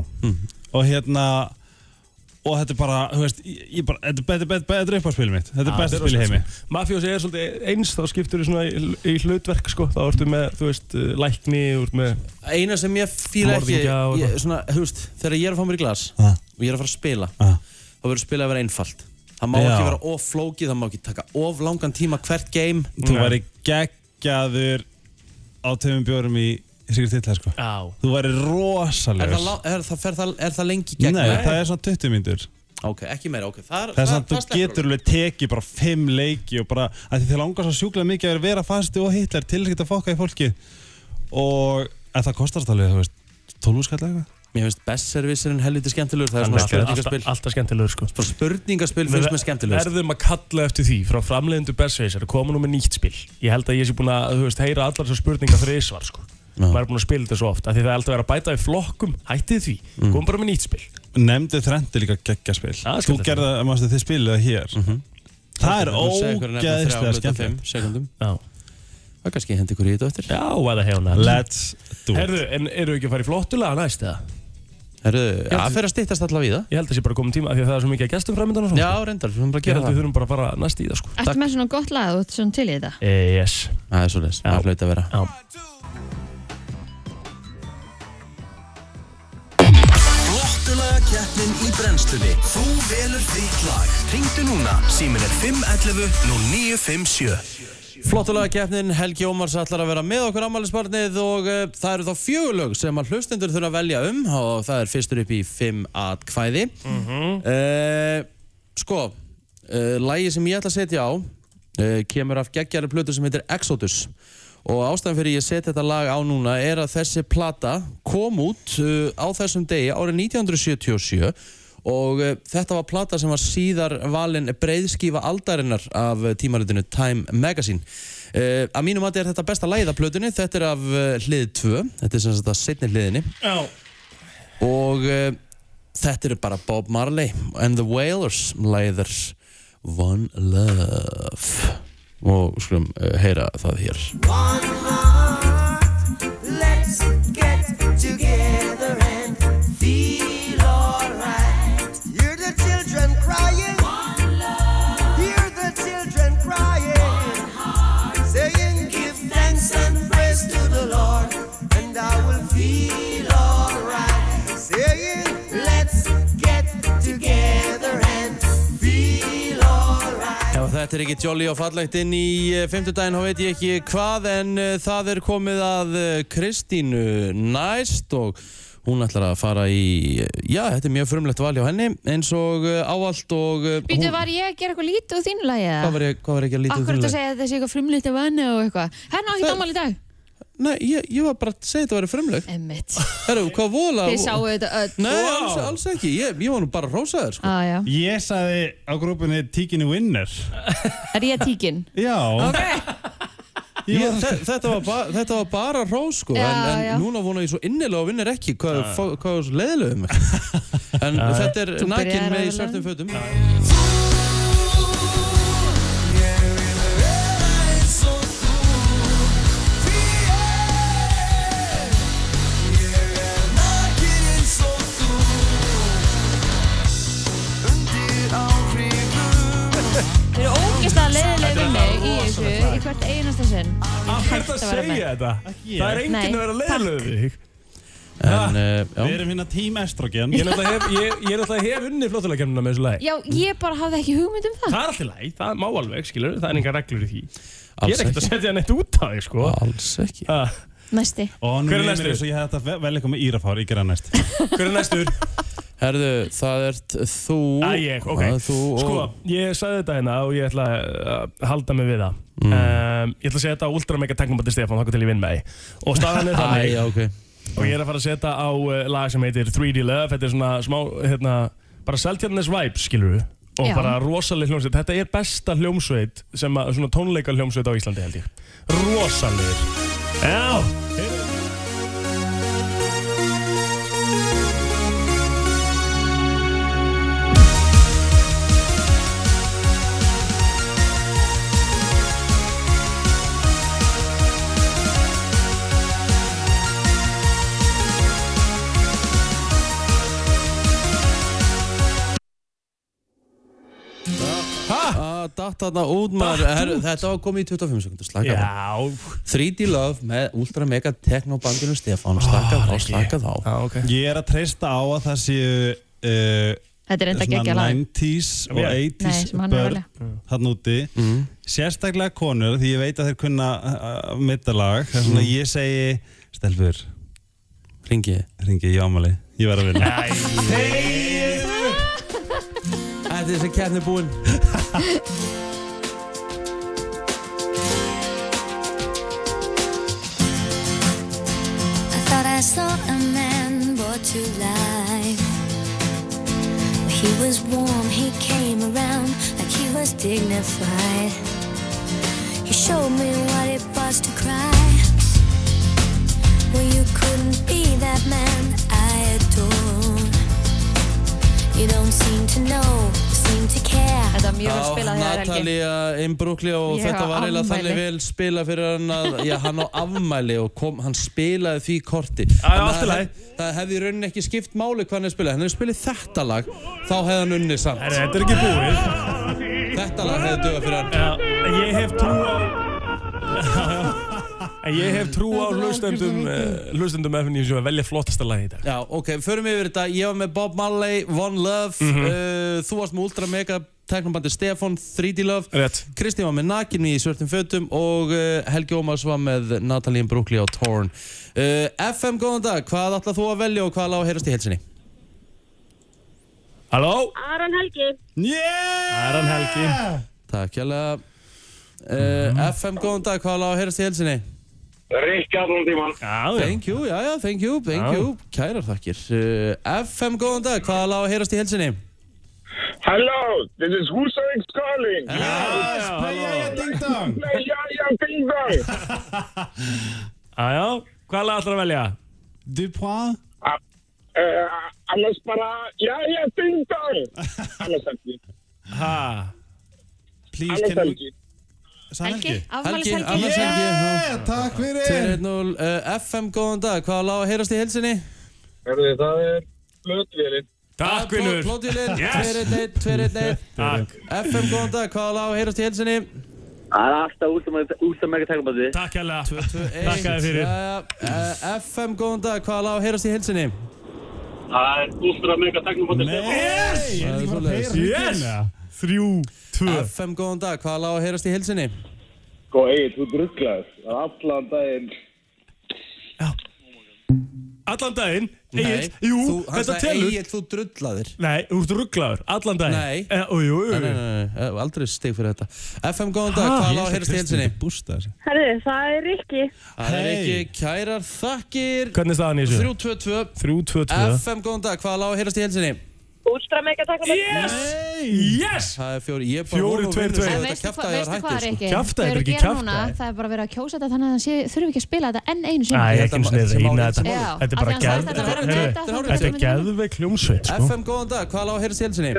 Og hérna Og þetta er bara, þú veist, ég, ég bara, þetta er- þetta er- þetta er upp á spilum mitt Þetta er besta spil í heimi Mafjós sko. er svolítið eins, þá skiptur þú svona í, í hlutverk sko Þá ertu með, þú veist, eh, lækni, þú ert með Eina sem ég fýla ekki Morðingja og ég, eitthvað. svona, hugst, þegar ég er að fá mér í glas Ah. og ég er að fara að spila Ah. þá verður spilað að vera einfalt það má Já. ekki vera of flókið, það má ekki taka of langan tíma hvert game Þú Nei. væri geggjaður á tveimum bjórum í Sigurd Hitler sko Já Þú væri er rosalegur það, la- er, það, fer, það, er það lengi Nei, gegn það er svona 20 myndur ok, ekki meira, ok það, Það er svona, þú sleppur getur alveg tekið bara 5 leiki og bara, að þið langar svo sjúklega mikið að vera- vera fasti og Hitler til þess að geta fokkað í fólki og að það kostast alveg, þú veist, 12 skall eða eitthvað mér finnst best servicerinn helviti skemmtilegur það er svona Alltaf, alltaf, spurningaspil alltaf skemmtilegur sko Bara spurningaspil finnst mér skemmtilegur Erðum að kalla eftir því frá framleiðindu Bessveisar að koma nú með nýtt spil Ég held að ég sé búin að, þú veist, heyra allar þessar spurningar þreysvar sko Maður er búin að spila þetta svo oft af Því það er alltaf að vera að bæta í flokkum, hættið því Mm. Komum bara með nýtt spil Nefndi þrendi líka geggjaspil Það er Þú skemmtilegt. gerða, mástu þið spilið það hér Mhm. Það er ógeðslega skemmt skemmtilegt Já, Það er kannski hendi ykkur í þetta eftir. já, eða hefna Let's do it Herðu, en eru ekki að fara í flottulega næst eða? Herru, já, það fer að stýttast allavega í það. Ég held að sé bara komin tíma af því að það er svo mikið að gestum framöndan og Já, svona reyndar, við höfum bara að Ég gera held að við það. þurfum bara að fara næst í það sko Takk. ertu með svona gott lag Þú ert svona til í þetta e, Yes Það er svolítið, það er Já. hlaut að vera. Já. keppnin í brennslunni Þú velur þitt lag Ringdu núna, símin er 511 0957 Flottulega keppnin, Helgi Ómars ætlar að vera með okkur ammælisbarnið og uh, það eru þá fjögulög sem að hlustendur þurfa að velja um og það er fyrstur upp í fimm atkvæði. Mm mhm. sko, uh, lægi sem ég ætla að setja á uh, kemur af geggjari plötu sem heitir Exodus og ástæðan fyrir ég set þetta lag á núna er að þessi plata kom út uh, á þessum degi árið 1977 og uh, þetta var plata sem var síðar valin breiðskífa aldarinnar af uh, tímaritinu Time Magazine uh, að mínum að er þetta besta lagið af plötunni þetta er af uh, hlið 2 þetta er sem sagt að setni hliðinni Já. og uh, þetta eru bara Bob Marley and the Wailers lagið er One Love og skulum uh, heyra það hér Let's get together and feel alright. Hear the children crying. Hear the children crying. Saying, give thanks and praise to the Lord, and I will feel alright. Saying, let's get together and feel alright. Ef þetta er ekki jolly og fallegt inn í eh, fimmtudaginn, þá veit ég ekki hvað, en eh, það er komið að eh, Kristínu næst og hún ætlar að fara í, eh, já, þetta er mjög frumlegt val hjá henni, eins og eh, áallt og... eh, Býtu, hún- var ég að gera eitthvað lítið úr þínu lagi? Hvað var ég, hvað var ég ekki að lítið Akkur að segja að þessi eitthvað frumlítið af henni og eitthvað. Hérna á ekki Það- dómal í dag. Nei, ég, ég var bara að segja þetta að vera frumlegt. Emmitt. Herru, hvað vola... Þið sáu þetta öll. Nei, alls, alls ekki, ég, ég var nú bara að rósa þér, sko. Á, já. Ég sagði á grúpunni tíkinu winner. Er ég tíkin? Já. Ég Ég, var, þe- þetta, var ba, þetta var bara rós sko, Já, en, en já. núna vona ég svo innilega og vinnir ekki hvað, ja. hvað er svo leiðilega um mig en þetta er Þú nakin byrjar með í að svörtum fötum Þið eru ógeðslega leiðilega við mig í þessu, í hvert einasta sinn. Hvað er það að að vera segja þetta? Það er enginn Nei, að vera leiðilegur við þig. en uh, við já, erum hérna tím estrogen. Ég er náttúrulega hef, ég, ég er náttúrulega hef unni flottulega kemna með þessu lagi. Já, ég bara hafði ekki hugmynd um það. Það er alltaf læg, það má alveg, skilur, það er engar reglur í því. Ég alls er ekkert að ekki setja neitt út af þig, sko. alls ekki Ha, Næsti. Og nú Hver er er næstur? mér eins og ég hef þetta vel eitthvað með írafár, ég gera næst. Hver er næstur? herðu, það ert þú Æ, ég, ok. það er þú og Sko, ég sagði þetta hérna og ég ætla að halda mig við það. Mm. Um, ég ætla að setja ultra mega teknobandi Stefán, þakka til ég vinn með því. Og staðan er Æ, þannig, já, ok og ég er að fara að setja á uh, lag sem heitir 3D Love, þetta er svona smá, hérna, bara Seltjarnes Vibes, skilur við. Og Já. bara rosaleg hljómsveit. Þetta er besta hljómsveit, sem að, svona tónleika hljómsveit á Íslandi held ég. Rosalegir. Já, að Ah, datt þarna út maður herðu, þetta var komið í 25 sekundur slakað á já, 3D Love með Ultra Mega Techno bandinu Stefán slakað á, slakað á Já, ok. Ég er að treysta á að það séu uh, Þetta er enda ekki ekki að svona laga. 90s og Já. Nei, 80s sem hann er að börn hann úti Mm. sérstaklega konur því ég veit að þeir kunna uh, mittalag þess vegna Mm. ég segi stelfur, ringi ringi ég ámali ég verð að vinna Þetta er þessi kefni búinn I thought I saw a man brought to life. He was warm, he came around like he was dignified. He showed me what it was to cry. Well, you couldn't be that man I adore. You don't seem to know, seem to care. Þetta var mjög vel Já, spilað þegar Helgi. Natalia Imbruglia og Ég þetta á var eiginlega afmæli. þannig vel spila fyrir hann að já, hann á afmæli og kom, hann spilaði því korti já, Þannig allt í að lagi. það- Það hefði í rauninni ekki skipt máli hvað hann hefði spilað Hann hefði spilað þetta lag, þá hefði hann unnið samt Herra, Þetta er ekki búið. Þetta lag hefði dögað fyrir hann Já, ég hef trú á En ég hef trú Þetta á er hlustendum, algjört eh, hlustendum FNJ að velja flottasta lagi í dag. Já, ok, förum yfir þetta Ég var með Bob Marley, One Love Mhm. uh, Þú varst með Ultra Mega Teknobandi Stefan, 3D Love Rétt. Kristín var með Nakin í svörtum fötum og uh, Helgi Ómars var með Natalín Brúkli á Torn uh, FM, góðan dag, hvað ætlað þú að velja og hvað lág að heyrast í helsinni? Halló? Aron Helgi. Aron Helgi. Takk hérlega uh, FM, góðan dag, hvað lág að heyrast í helsinni? Rikki allan tíman. Já, já. Thank you, já, já, thank you, thank Já. you Kærar þakkir uh, FM, góðan dag, hvað lág að heyrast í helsinni? Hello, this is Hussein calling. Yes, play it. Yeah, yeah, yeah, ding dong. Já, já. Hvað lag ætlar að velja? Dupont Uh, Eh, annars bara, já, já, ding dong. Annars ekki. Ha? Please, Annars can ekki. Helgi, Sælgi Helgi, afmælishelgi annars Helgi já. Takk fyrir 2-1-0, uh, FM, góðan dag, hvað lág að heyrast í helsinni? Herðu, það er blöðvélinn. Takk, vinnur. Plótilinn, Yes. 2-1-1, 2-1-1 Takk. FM, góðan dag, hvað lág að heyrast í helsinni? Það er alltaf um úrsamækja tækabandi. Takk hérlega. 2-1 Þakka þér fyrir. Jæja, eh, FM, góðan dag, hvað lág að heyrast í helsinni? Það er ústra mega um teknobóttir. Yes! Það er svoleiðis. Yes! Þrjú, tvö. FM, góðan dag, hvað lág að heyrast í helsinni? Sko, eigin, þú drugglaðist. Það er allan daginn. Allan daginn. Nei, Egil, jú, þú- hann þetta sagði, telur. Egill, þú drullaðir Nei, þú ert rugglaður. Allan daginn. Nei. Eh, Jú, jú, Nei, nei, jú. nei, nei, eh, aldrei stig fyrir þetta FM, Ah, góðan dag, Ha? hvað lág að heyrast í helsinni? Bústa þessi Herðu, það er Rikki. Það er Hey. ekki kærar þakkir Hvernig er staðan í þessu? 3-2-2 Þrjú, tvö, tvö. FM, góðan dag, hvað lág að heyrast í helsinni? Úlstra mega takk Yes! Yes! Það er fjóri, ég er bara Fjórir, voru að tveir, vinna svo tveir. En þetta veistu hvað, kjaftaði veistu var hvað hættur, sko. Rikki? Kjaftaði, Þau þetta eru er að ekki gera núna, kjaftaði. Það er bara verið að kjósa þetta þannig að það sé, þurfum ekki að spila þetta enn einu Æ, sinni ekki einu Þetta sinni má- þetta reyna þetta. má- Já, Þetta er af því bara hann geð... sagði þetta var Þetta að er- þetta horfum við þetta er til myndina. geðveik hljómsveit, sko. FM, góðan dag, hvað lág að heyrast í helsinni?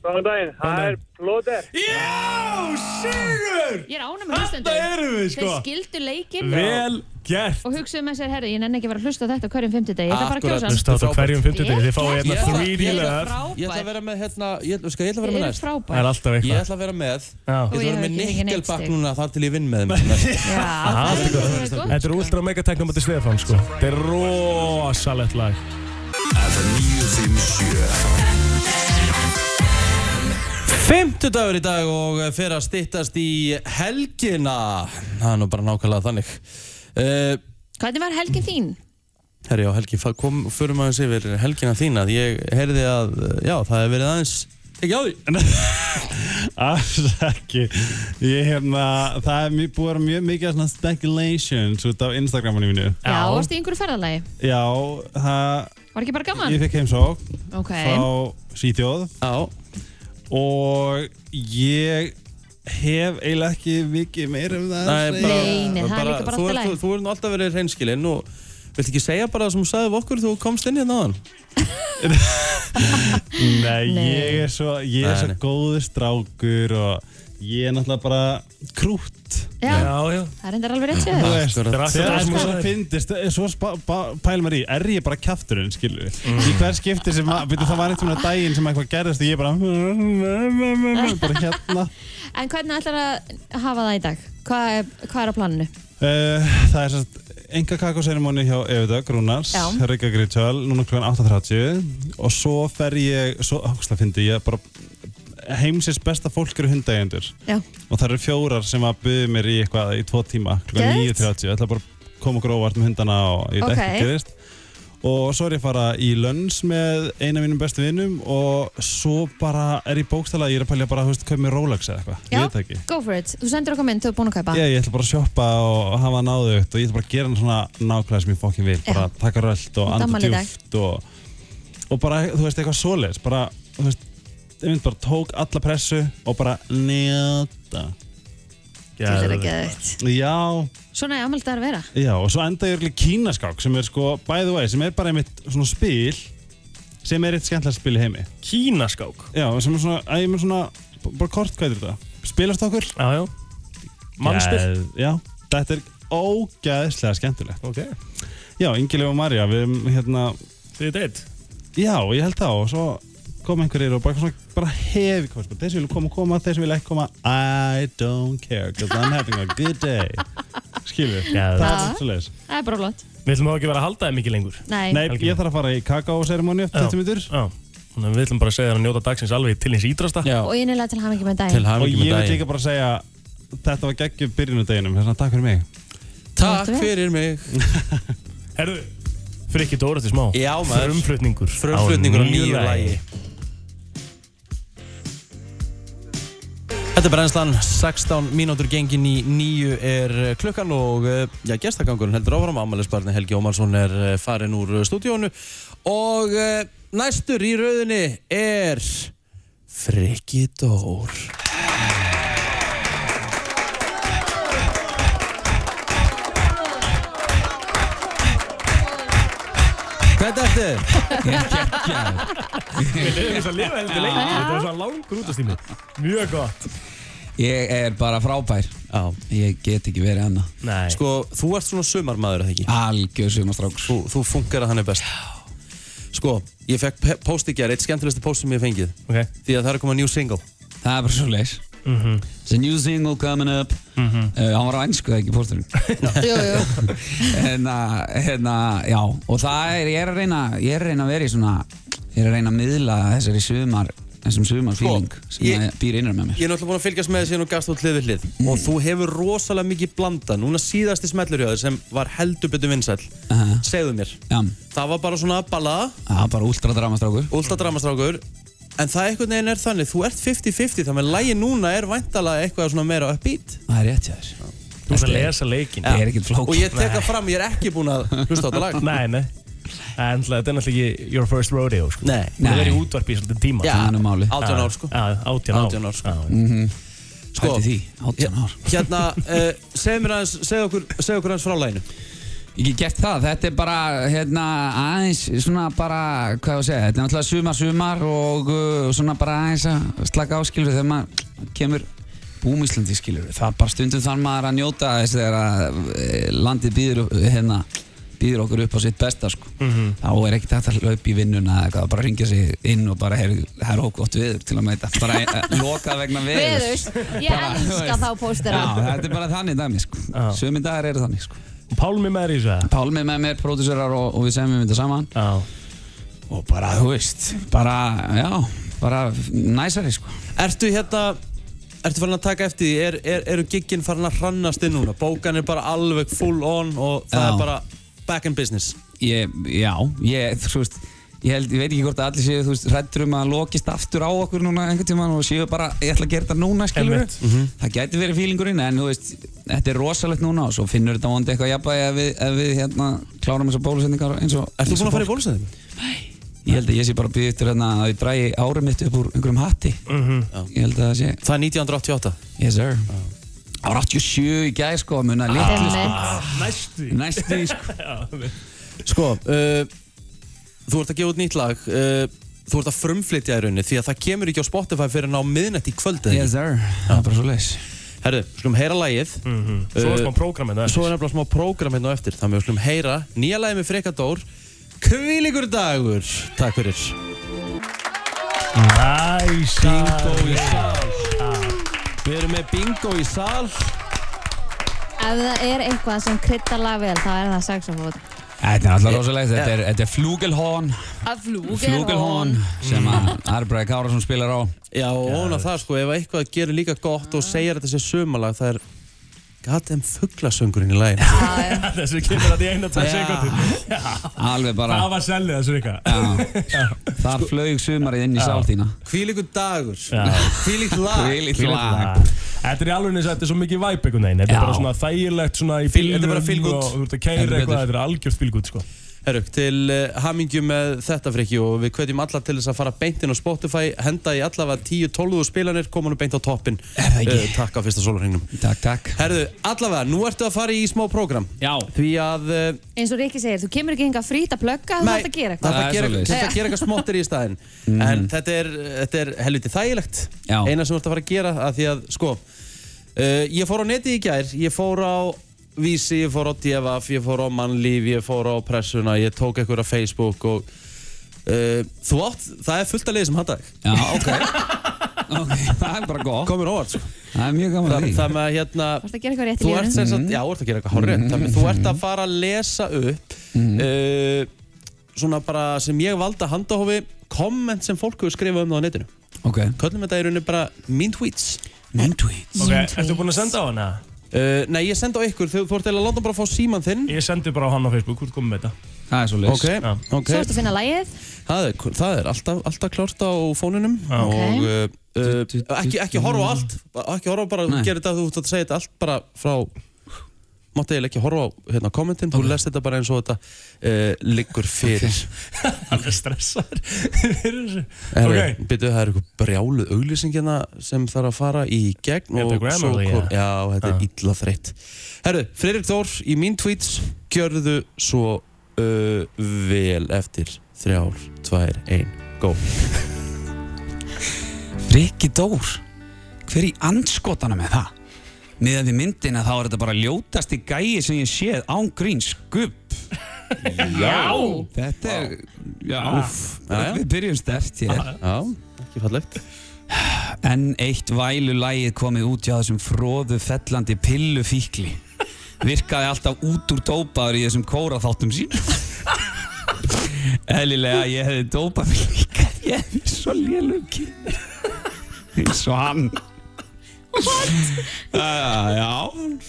Góðan daginn, það er blóðir. Já, sigur! Ég er ánum með hlustendur. Þarna erum við, sko. Þau skildu leikinn Vel gert. og hugsuðu með sér, herri, ég nenni ekki að vera að hlusta á þetta á hverjum fimmtudegi. Ég ætla bara að kjósa hann. Hlusta á þetta á hverjum fimmtudegi, þið fáið Vel hérna gert. gert. 3D löf. Þið eru Ég ætla að frábær. vera með hérna, ég, sko, ég ætla að Þið vera með eru næst Það er frábær. alltaf Ég eitthvað. ætla að vera með Ég Já. Og ætla að ég vera hef með ekki fengið neitt nikkelbakk stig. núna þar til ég vinn með þeim næst. Já, það er mjög gott. Þetta er Ultra Megatech náttúrulega Stefán sko Þetta er rosalegt lag Fimmtudagur í dag og fer að styttast í helgina Það er nú bara nákvæmlega þannig uh, Hvernig var helgin þín? Herri já, Helgi, fa- kom, förum aðeins yfir helgina þína Því ég heyrði að, eh, já, það hefur verið aðeins Ekki á því Alls ekki Ég hefna, það er mjög, búið að vera mjög mikið svona speculations út á Instagraminu mínu Já, varstu í einhverju ferðalagi? Já, það, Var ekki bara gaman? ég fekk heimsók Ok, frá Svíþjóð Já, og ég hef eiginlega ekki mikið meira um það það að er segja. bara Nei, nei, það er líka bara þú, allt í ert- lagi. þú, þú er nú alltaf verið hreinskilinn og Viltu ekki segja bara það sem þú sagði við okkur þú komst inn hérna á hann? Nei, Nei. ég er svo, ég er Nei, svo nei. góður strákur og ég er náttúrulega bara krútt já, já það er enda alveg rétt Þú séð. veist, Akkurat. þegar Þetta er það sem sko þú svo sagðir. fyndist svo spa- ba- pælir maður í, er ég bara kjafturinn, skilur við í hver skipti sem, að- veitu, það var einhvern veginn daginn sem eitthvað gerðist og ég bara bara hérna En hvernig ætlar að hafa það í dag? Hvað er, hvað er á planinu? Uh, það er sérst enga kakoserimóni hjá Evita Grúnars, Já. Rika Gritjál, núna klukkan 8.30 og svo fer ég, svo áksla fyndi ég bara heimsins besta fólk eru hundægjendur Já, og það eru fjórar sem að buðu mér í eitthvað í tvo tíma klukkan Geðveikt. 9.30, ég ætla bara að koma okkur óvart með hundana og ég Ok. veit ekki hvað gerist og svo er ég að fara í lönns með eina af mínum bestu vinnum og svo bara er ég bókstala ég er að pælja bara, þú veist, kaup mér Rolex eða eitthvað, já ég veit það ekki go for it. Þú sendir okkur mynd, þú er búin að kaupa. Já, ég ætla bara að sjoppa og hafa náðugt og ég ætla bara að gera hann svona nákvæmlega sem ég fokkin vil bara taka rölt og Þetta anda afmæli í dag. djúft og, og bara, þú veist, eitthvað svoleiðis bara, þú veist, ég mynd bara tók alla pressu og bara njóta Þetta er ekki aðeitt. Já, Svona er afmælt að vera. já, og svo enda ég örugglega í kínaskák sem er sko, by the way, sem er bara einmitt svona spil sem er eitt skemmtilega spil í heimi Kínaskák Já, sem er svona, að ég með svona bara kort, hvað er þetta? Spilast okkur? Já, já Mannspil Já, þetta er ógæðslega skemmtilegt Ok Já, Ingileg og Marja, við erum hérna Þið deitt Já, ég held það og svo kom einhverjir og bara, svona, bara hefi kost Þeir sem vilja koma, koma, þeir sem vilja ekki koma I don't care, because I'm having a good day skilur við. Já. Það Já. er svo leiðis. Það er bara flott. Við ætlum þá ekki að vera að halda það mikið lengur Nei, Nei, ég þarf að fara í kakao-seremóni eftir Já. 20 minnur. Já, þannig að við ætlum bara að segja þér að njóta dagsins alveg til hins ídrasta Já, og innilega til hafa ekki með til daginn. Og hafingi ég með vil daginn líka bara segja, þetta var geggjum byrjunudeginum, þess að hérna, takk fyrir mig. Takk Máttu vel. fyrir mig Herðu, frikki Dóra til smá Já, maður. Frumflutningur Frumflutningur á nýju lagi Þetta er brennslan, 16 mínútur gengin í nýju er eh, klukkan og eh, já, gestagangurinn heldur áfram, ammælisbarni Helgi Ómarsson er eh, farinn úr eh, stúdíónu og eh, næstur í rauðinni er Frikki Dór. Hvernig ertu? Við erum þess að lifa heldur lengi Þetta var svo langur útastími Mjög gott Ég er bara frábær Já, Ég get ekki verið annað Nei sko, þú ert svona sumarmaður, eða ekki? Algjör sumastráks Þú, þú funkar að hann er best. Sko, ég fekk pe- post í gerð, eitt skemmtilegsta post sem ég hef fengið. Ok Því að það er að koma njú single. Það er bara svo leis It's a new single coming up uh, Hann var á ennsku ekki pósturinn Jú, jú. hérna, hérna, já Og það er, ég er að reyna Ég er að reyna að vera í svona Ég er að reyna að miðla þessari sumar Þessum sumar feeling Sem Sko, ég- ég... býr innra með mér Ég er náttúrulega búin að fylgjast með þessi og gafst út hlið við hlið Mm. og þú hefur rosalega mikið blanda núna síðasti smellur hjá þér sem var heldur betur vinsæll Aha. segðu mér Já, það var bara svona ballada, það er bara últra dramastrákur ultradramastrákur en það einhvern veginn er þannig, þú ert 50-50 þannig að lægi núna er væntalega eitthvað svona meira upbeat Það er rétt hjá þér Þú ert að lesa leikin Það er ekkert flók og ég tek það fram, ég er ekki búin að hlusta á þetta lag Nei, nei En það er náttúrulega ekki your first rodeo sko. Nei. Þú verður í útvarpi í svolítið tíma Já, Það er nú máli. 18 ár sko Átján ár 18 ár, sko. Já, Sko, Pældi því, 18 Mhm. ár. Hérna, uh, segðu mér aðeins, segðu okkur, segðu okkur aðeins frá læginu Ég get gert það, þetta er bara hérna, aðeins svona bara, hvað ég að segja, þetta er náttúrulega sumar sumar og uh, svona bara aðeins að slaka áskilur þegar maður kemur búm Íslandi skilur, það er bara stundum þann maður að njóta þess þegar að eh, landið býður, hérna, býður okkur upp á sitt besta sko. þá er ekkert hægt að hlaupa í vinnuna eða eitthvað, bara ringja sig inn og bara heyrðu, það er okkur gott viður til að mæta, bara eh, lokað vegna viður. Veður, ég Bara, þú elska veist. þá póstera. Já, þetta er bara þannig dæmi sko. Já. Sumi dagar eru þannig sko. Pálmi með þér í þessu eða? Pálmi með mér, pródúsörar og, og við semjum þetta saman Já og bara, þú veist, bara, já, bara næsari sko. Ertu hérna Ertu farin að taka eftir því, er, er, eru gigginn farin að hrannast inn núna? Bókan er bara alveg full on og það Já. er bara back in business Ég, já, ég, þú veist, ég held, ég veit ekki hvort að allir séu, þú veist, hrættur um að lokist aftur á okkur núna einhvern tímann og séu bara, ég ætla að gera þetta núna, skilur Einmitt. Það gæti verið fílingurinn, en þú veist, þetta er rosalegt núna og svo finnur þetta vondi eitthvað jafnvægi ef við, ef við hérna, klárum þessar bólusendingar eins og... Ertu eins búin og að fara í fólk. bólusæðinu? Ég held að ég sé bara að býða eftir hérna að ég drægi árið mitt upp úr einhverjum hatti. Ég held að það sé, Það er 1988 Yes sir Það var 87 í gæð sko, muna litlu sko. Einmitt. Næstu Ah, því. Næstu í sko Sko, uh, þú ert að gefa út nýtt lag uh, Þú ert að frumflytja í rauninni því að það kemur ekki á Spotify fyrir að ná miðnætt í kvöldið Yes sir, það var bara svo leis Ah. Herðu, skulum heyra lagið Mhm. Svo er Eh, smá prógram hérna þetta Svo er nefnilega smá prógram hérna á eftir Þannig að við skulum heyra nýja lagið með Frekadór Kvílíkur dagur Takk fyrir Næsa í sal Við erum með bingo í sal Ef það er eitthvað sem kryddar lag vel, þá er það saxofón. Þetta er alltaf rosalegt, þetta er, þetta er Flugelhorn Að Flugelhorn sem að Arbreið Kárasson spilar á Já, og ofan á það sko, ef eitthvað gerir líka gott og segir að þetta sé sumalag, það er Gat þeim fugglasöngurinn í lægin Þessu kemur að því eina tæð sekundur Alveg bara Það var sellið þessu vika Já. Þar flaug sumarið inn í sál þína Hvílíkur dagur Já. Hvílíkt lag Hvílíkt lag Þetta er í alveg eins að þetta er svo mikið væp einhvern veginn Þetta er Já. bara svona þægilegt svona í Fíl- þetta er bara bílnum feel good. og Þú ert að keira Heldur eitthvað, betur. þetta er algjörð fylgut sko Herru, til uh, hamingju með þetta frikki og við hvetjum alla til þess að fara beint inn á Spotify henda í allavega 10-12 spilanir komanum beint á toppin Er það ekki? Takk á fyrsta sólarhengnum Takk, takk Herru, allavega, nú ertu að fara í smá program Já Því að uh, Eins og Rikki segir, þú kemur ekki hinga frýt að plugga, þú Nei, ætti að gera Það eitthvað. er að Það er gera, svoleiðis. það Mhm. er að gera eitthvað smottir í staðinn En þetta er, þetta er helviti þægilegt Já. Eina sem þú ert að fara að gera að Því að, sko uh, Ég fór á neti í gær Ég fór á Vísi, ég fór á DFF Ég fór á Mannlíf, ég fór á Pressuna Ég tók eitthvað á Facebook og, uh, Þú átt, það er fullt að liði sem handa þig Já, ok Ok, það er bara gott Komur óvart sko Það er mjög gaman að því Það með að hérna Varstu að gera eitthvað rétt í Þú ert lífinu? Mm-hmm. sem Mhm. sagt, já, þú ert að gera eitthvað hárrétt mm Þú ert að fara að lesa upp Mhm. uh, Svona bara sem ég valda handahófi Komment sem fólk hefur skrifað um það á netinu Ok Köllum þetta í rauninni bara Mean tweets Mean tweets Ok, ertu búin að senda á hana? Uh, nei, ég sendi á ykkur, þú, þú ert eiginlega að láta bara að fá síman þinn Ég sendi bara á hann á Facebook, hvort komum við þetta? Það er svo Ok, ok Svo ertu að finna lægið Það er, það er alltaf, alltaf klárt á fónunum og uh, uh, ekki, ekki horfa á allt ekki horfa bara, Nei. gera þetta þú ert að segja þetta allt bara frá mátti eiginlega ekki horfa á hérna, kommentin þú lest þetta bara eins og þetta uh, liggur fyrir Hann er stressaður fyrir þessu okay. Býtu, það er eitthvað brjáluð auglýsingina sem þarf að fara í gegn Þetta er og svo Grammarly, kom- eða? Já, þetta Ah. er illa þreytt Herru, Freirik Þór í mín tweets gjörðu svo uh, vel eftir þrjár, tvær, ein, go Rikki Dór Hver í anskotanum er það? Miðan við myndina þá er þetta bara ljótasti gæi sem ég séð án grín skubb Já Þetta er, já, úff Já, já. Við byrjum stert hér Já, ekki fallegt Enn eitt vælulægið komið út hjá þessum fróðu fellandi pillufíkli Virkaði alltaf út úr dópaður í þessum kóraþáttum sín Eðlilega ég hefði dópað mig líka Ég hefði verið svo lélugi Eins og hann What? já,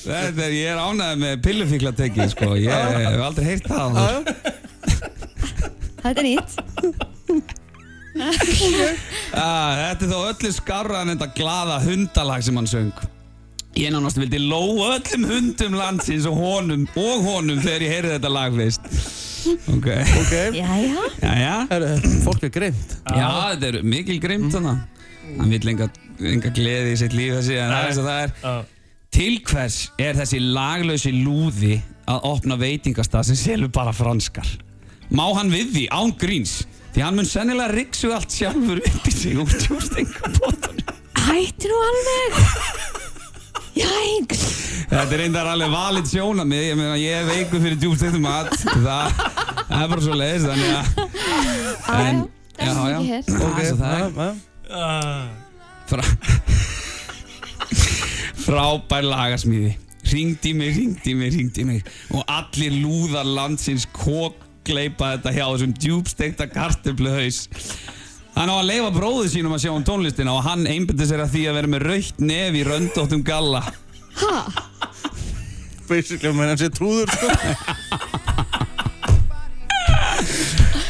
þetta er, ég er ánægð með pillufíkla tekið sko Ég hef aldrei heyrt það áður. Þetta er nýtt Ah, þetta er þó öllu skarra en þetta glaða hundalag sem hann söng Ég nánast vildi lóa öllum hundum landsins og honum, og honum þegar ég heyrði þetta lag fyrst Ok, Ok, Jæja jæja Herru, fólk er greimt Já, þetta er mikil grimt þarna Hann vill enga, enga gleði í sitt líf þessi en það er þess að það er Já. Til hvers er þessi laglausi lúði að opna veitingastað sem selur bara franskar? Má hann við því án gríns? Því hann mun sennilega riksu allt sjálfur upp í sig úr tjústengabotunum. Hætti nú alveg Jæks Þetta er reyndar alveg valið sjónamið, ég meina ég er veikur fyrir djúbstektum mat, það, það er bara svo leiðis, þannig að... En, það er mikið hér. Ok, það er frá, frábær lagasmíði ringdi mig, ringdi mig, ringdi mig og allir lúðar landsins kokleipa þetta hjá þessum djúbstekta kartöfluhaus hann á að leifa bróðu sínum að sjá um tónlistina og hann einbytti sér að því að vera með raukt nef í röndóttum galla Basically, að menn hann sé trúður, sko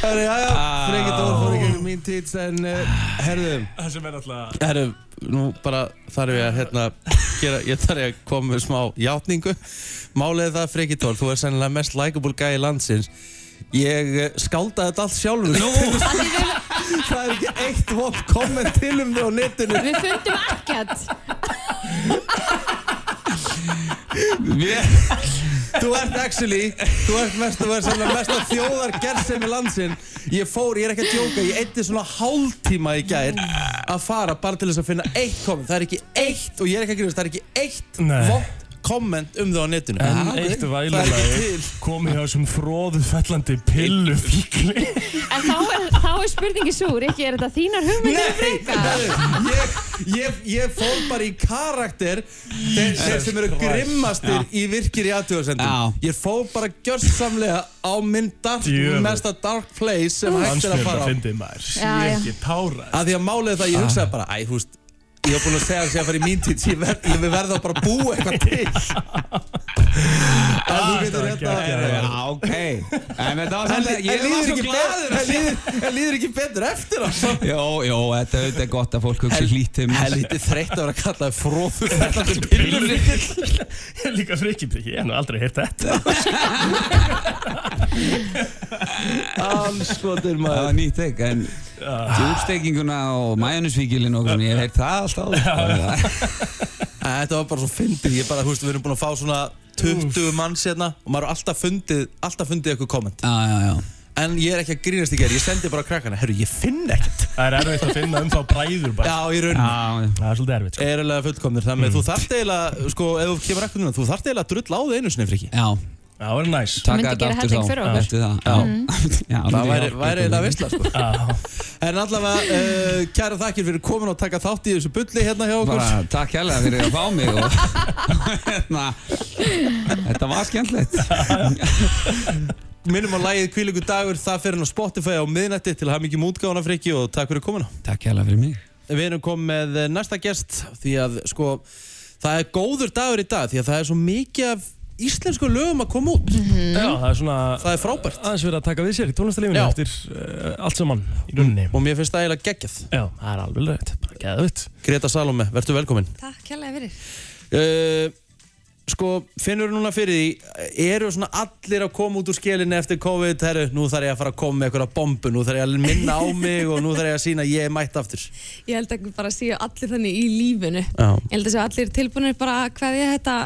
Herru, já, já, frekið dóð fór ekki um mín títs en uh, herðu, Það sem er alltaf herru, nú bara þarf ég að hérna gera, ég þarf ég að koma með smá játningu Málið er það frekið dóð, þú er sennilega mest likeable guy í landsins Ég eh, skáldaði þetta allt sjálfur Það er ekki eitt vopn komment til um þig á netinu Við fundum ekkert Við- Þú ert actually, þú ert mest, þú ert sannlega mest að þjóðar gerðsemi landsinn Ég fór, ég er ekki að djóka, ég eitti svona hálftíma í gær að fara bara til þess að finna eitt komment Það er ekki eitt, og ég er ekki að grifast, það er ekki eitt Nei. vott komment um það á netinu En eitt Það er ekki vælulagi til komið hjá þessum fróðu fellandi pillu fíkli En þá er, þá er spurningi súr Ekki er þetta þínar hugmyndir frekar Nei, ég, ég, ég fór bara í karakter þeir, þeir sem eru grimmastir í virkir í aðtjóðasendum Já. Ég fór bara gjörsamlega á minn dark, Djöfull. mesta dark place sem hægt er að Hansmjörn fara að á fyndi maður Já, Ég já. ekki Ah. tára að því að málið er það að ég hugsaði bara, æ, þú veist ég var búin að segja þess að fara í mín títs ég, ver, ég verði að bara búa eitthvað til að Ah, þú getur þetta Já, ok En þetta var En samt en að ég var líður svo ekki gladur betur- en líður- en líður ekki betur eftir það Jó, jó, þetta er auðvitað gott að fólk hugsi hlítið um þessu. Helviti þreytt að vera að kalla það fróður fellandi pillur Ég er líka frikið, ég hef nú aldrei heyrt þetta Allskotir Það var nýtt ekk, en djúbstekinguna og majónusvíkilin og svona, ég hef heyrt það alltaf áður. Þetta var bara svo fyndið Ég bara, þú veist, við erum búin að fá svona 20 manns hérna og maður er alltaf fundið alltaf fundið eitthvað komment Já, já, já. en ég er ekki að grínast í gerð ég sendi bara krakkana herru, ég finn ekkert Það er erfitt að finna um þá bræður bara Já, í rauninni Já, já. Það er svolítið erfitt sko. Mm. Erulega fullkomnir, þannig að þú þarft eiginlega, sko, ef þú kemur ekkert núna, þú þarft eiginlega að drull á þig einu sinni, Friki. Já, Það var næs taka myndi þetta gera helling aftur Mm. fyrir þá. okkur. Eftir það, já. Já, Það væri, væri eiginlega veist. veistla, sko. Já. En en allavega uh, kæra þakkir fyrir komin og taka þátt í þessu bulli hérna hjá okkur Bara takk hérlega fyrir að fá mig og hérna, þetta var skemmtilegt. Minnum á lagið Kvílíku dagur, það fyrir hann á Spotify á miðnætti til að hafa mikið mútgáðuna friki og takk fyrir komuna Takk hérlega fyrir mig Við erum komið með næsta gest því að sko það er góður dagur í dag því að það er svo mikið af íslensku lögum að koma út Já, það er svona Það er frábært aðeins verið að taka við sér í tónlistarlífinu Já. eftir uh, allt saman í rauninni og mér finnst það eiginlega geggjað Já, það er alveg rétt, bara geðvitt Greta Salome, verður velkomin Takk hérlega fyrir. uh, Sko, finnur núna fyrir því eru svona allir að koma út úr skilinu eftir COVID, herru, nú þarf ég að fara að koma með einhverja bombu, nú þarf ég að minna á mig og nú þarf ég að sína að ég er mætt aftur Ég held að bara séu allir þannig í lífinu. Já. Ég held að séu allir tilbúinir bara að hvað ég þetta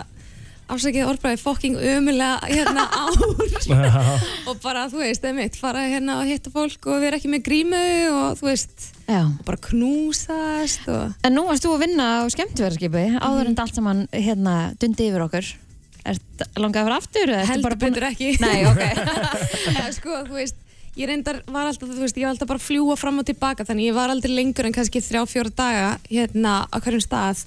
afsakið orðbræði fokking ömulega hérna ár og bara þú veist, eða mitt, fara hérna og hitta fólk og vera ekki með grímu og þú veist, Já. og bara knúsast og... En nú varst þú að vinna á skemmtverðarskipi áður en allt saman hérna dundi yfir okkur Ert langað að fara aftur? eða ertu Heldur bara búin- betur ekki. Nei, ok Já, sko, þú veist, ég reyndar var alltaf, þú veist, ég var alltaf bara að fljúa fram og tilbaka þannig ég var aldrei lengur en kannski þrjá, fjóra daga hérna á hverjum stað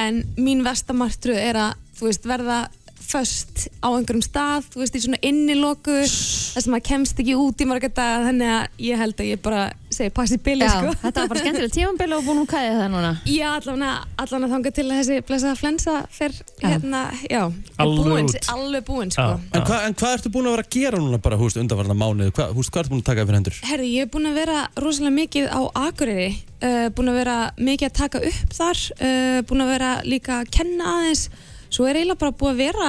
en mín vestamartru er að, þú veist, verða föst á einhverjum stað, þú veist, í svona inniloku þar sem maður kemst ekki út í marga daga þannig að ég held að ég bara segi passi billi, Já, sko. þetta var bara skemmtilega tímambil og búin hún kæði það núna Já, allavega, allavega þangað til að þessi blessaða flensa fer hérna, já, er Alveg búin, út. alveg búin, sko. En, hva, en hvað ertu búin að vera að gera núna bara, húst, undanvarna mánuð hva, húst, hvað ertu búin að taka fyrir hendur? Herði, ég hef búin að vera rosalega mikið á Akureyri, uh, búin að vera mikið að taka upp þar, uh, búin að vera líka að kenna aðeins, svo er eiginlega bara búið að vera,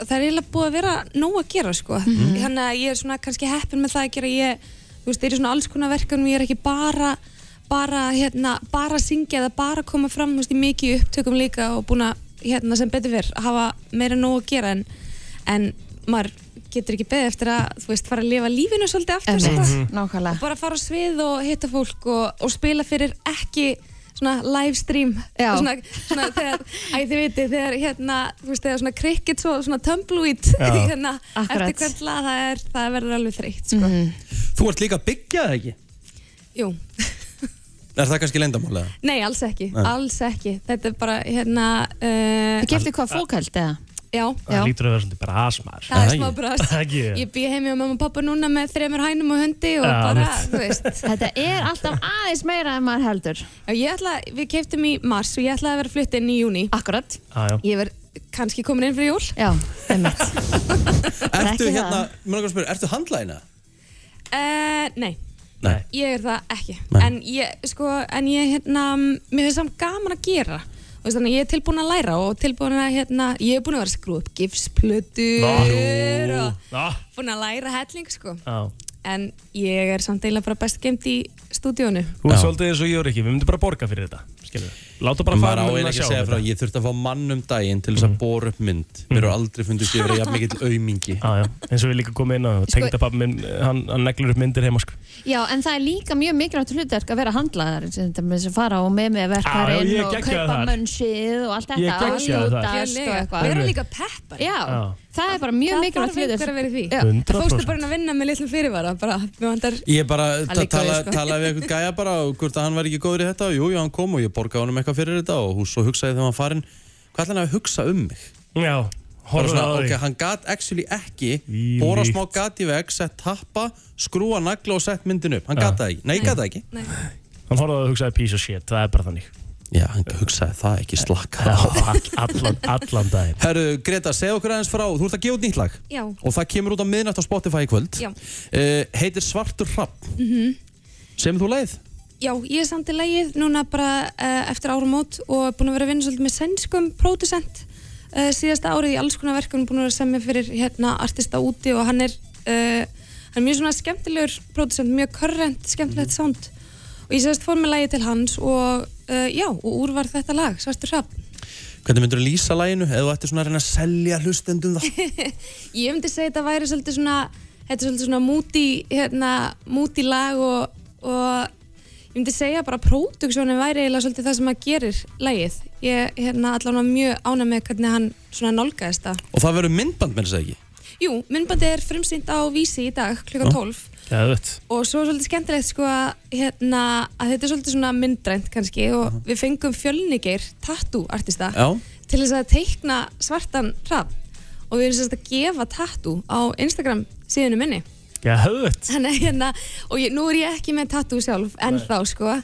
það er eiginlega búið að vera nóg að gera sko, þannig að ég er svona kannski heppin með það að gera, ég, þú veist, er í svona alls konar verkefnum, ég er ekki bara, bara, hérna, bara að syngja eða bara að koma fram, þú veist, ég er mikið í upptökum líka og búin að, hérna, sem betur fyrr, hafa meira en nóg að gera en, en maður getur ekki beðið eftir að, þú veist, fara að lifa lífinu svolítið aftur, Einmitt, sko nákvæmlega. og bara fara á svið og hitta fólk og, og spila fyrir ekki svona live stream Já. svona, svona þegar, æ þið viti þegar hérna, þú veist, þegar svona cricket og svona tumbleweed Já. hérna, Akkurat. Mhm. eftir hvert lag það er, það verður alveg þreytt sko. Þú ert líka að byggja það ekki? Jú, Er það kannski leyndamálega? nei, alls ekki, Nei. alls ekki þetta er bara, hérna uh, Þú kefti hvað fókald eða? Já, Það lítur að vera svolítið bara asmar það er smá brast Ekki Ég bý heimi á mamma og pappa núna með þremur hænum og hundi og Já, bara, mitt. þú veist Þetta er alltaf aðeins meira en maður heldur Já, ég ætla, við keftum í mars og ég ætlaði að vera flutt inn í júni Akkurat Já, já Ég verð kannski komin inn fyrir jól Já, einmitt Ertu ekki hérna, mér langar að spyrja, ertu handlæðina? uh, Nei, Nei. ég er það ekki Nei. En ég, sko, en ég, hérna, mér finnst samt gaman að gera Þú veist, Þannig að ég er tilbúin að læra og tilbúin að, hérna, ég er búin að vera að skrúa upp gifsplötur og Ná, búin að læra helling, sko já En ég er samt eiginlega bara best geimt í stúdíónu Þú er svolítið eins og ég er ekki, við myndum bara borga fyrir þetta Skilur Láta bara Maður fara á með eiginlega að ekki sjá að segja frá, þetta ég þurfti að fá mann um daginn til þess að bóra upp mynd. Mér hefur aldrei fundist ég verið jafn mikill aumingi. Mm. Já, já, eins og við líka komum inn á Tengdapappi minn, hann, hann neglur upp myndir heima sko Já, en það er líka mjög mikilvægt hlutverk að vera handlaðar sem þetta með þess að fara og með með Já, verkarinn já, ég og geggjaður kaupa þar. mönnsið og allt þetta Ég geggjaður að þar. lútast og eitthvað Vera líka peppar Já, Já. það er bara mjög Það mikilvægt þarf einhver að vera í því. Já. 100% Fórstu bara inn að vinna með litlum fyrirvara bara, mér vantar Ég bara Það ta- liggur tala, við, sko. talaði við einhver gæja bara og hvort að hann var ekki góður í þetta og jú, jú, hann kom og ég borgaði honum eitthvað fyrir þetta og hún svo hugsaði þegar hann farinn, hvað ætla hann að hugsa um mig? Já, Bara horfðu svona, á ok, því hann gat actually ekki Þvílíkt. bóra smá gat í veg, sett tappa, skrúa nagla og sett myndin upp. Hann Já. gat það ekki. Nei, gat það ekki. Hann horfði á það og hugsaði piece of shit, það er bara þannig Já, hann hugsaði það ekki slakka. Já, all- allan, allan daginn Herru, Greta, segð okkur aðeins frá, þú ert að gefa út nýtt lag Já. og það kemur út á miðnætt á Spotify í kvöld Já. Mhm. Eh, heitir Svartur Rapp mm -hmm. sem þú leið Já, ég er samt í lægið núna bara uh, eftir áramót og búin að vera að vinna svolítið með sennskum pródusent uh, síðasta árið í alls konar verkunum búin að vera semmi fyrir hérna artista úti og hann er, uh, hann er mjög svona skemmtilegur pródusent, mjög korrent, skemmtilegt sound og ég sérst fór með lægið til hans og uh, já, og úr var þetta lag, Svartur Hrafn. Hvernig myndur þú lýsa laginu eða þú ættir svona að reyna að selja hlustendum það? Ég myndi segja þetta væri svolítið svona, þetta er svolítið svona múti, hérna, múti lag og, og ég myndi segja bara próduksjónin væri eiginlega svolítið það sem að gerir lagið. Ég hérna allavega mjög ána með hvernig hann svona nálgaðist það. og það verður myndband með þess að segja ekki? Jú, myndbandið er frumsýnt á vísi í dag klukkan Já. 12 Geðvett og svo er svolítið skemmtilegt sko að, hérna, að þetta er svolítið svona myndrænt kannski og við fengum fjölnigir tattoo artista Já. til þess að teikna svartan hrapp og við erum sérst að gefa tattoo á Instagram síðinu minni Geðvett Þannig, að, hérna, og ég, nú er ég ekki með tattoo sjálf ennþá sko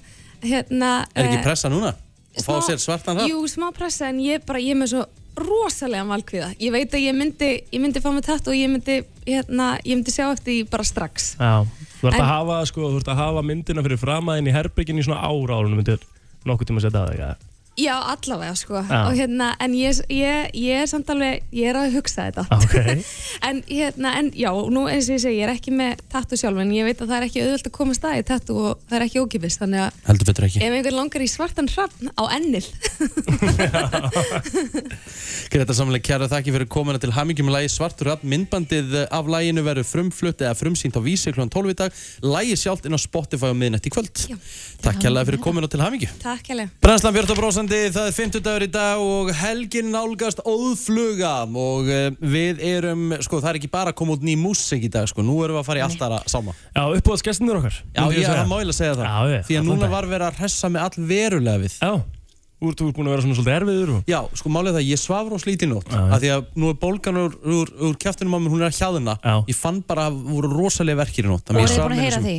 hérna, Er ekki eh, pressa núna? Og fá smá- sér svartan hrapp? Jú, smá pressa en ég bara, ég er með svo rosalega valkviða. Ég veit að ég myndi, ég myndi fá mig tatt og ég myndi, hérna, ég myndi sjá eftir því bara strax. Já, þú ert En- að hafa, sko, þú ert að hafa myndina fyrir framaðin í herbyggin í svona ára ára myndir nokkuð tíma að setja að það, já. Já, allavega, sko. Já. Og hérna, en ég, ég, ég er samt alveg, ég er að hugsa þetta. Ok. En hérna, en já, nú eins og ég segi, ég er ekki með tattoo sjálf, en ég veit að það er ekki auðvöld að komast að í tattoo og það er ekki ókipist, þannig að Heldur betur ekki ef einhver langar í svartan hrappn á ennil, Greta samlega kjæra þakki fyrir komuna til hamingjum lagi Svartur Rapp. Myndbandið af laginu verður frumflutt eða frumsýnt á Vísi kl. 12 í dag. Lagi sjálft inn á Spotify á miðnætt í kvöld. Já, Takk kjærlega fyrir komuna til hamingju. takk hella. Brænslan Björn Brósandi, það er 50 dagur í dag og helgin nálgast óðfluga og eh, við erum, sko það er ekki bara að koma út ný músik í dag, sko, nú erum við að fara í allt aðra sama. Já, uppbúðasgestinir okkar. Já, myndi ég er segja. að mála að segja það, Já, ég, því að allan núna dag. var verið að hressa mig all verulega við. Já, úr þú ert búin að vera svona svolítið erfiður og... Já, sko málið er það, ég svaf rós lítið í nótt af því að nú er bólgan úr, úr, úr kjæftinum á mér, hún er að hjáðina ég fann bara að voru rosalega verkir í nótt Og þannig ég svaf með er þið búin að heyra þessum- því?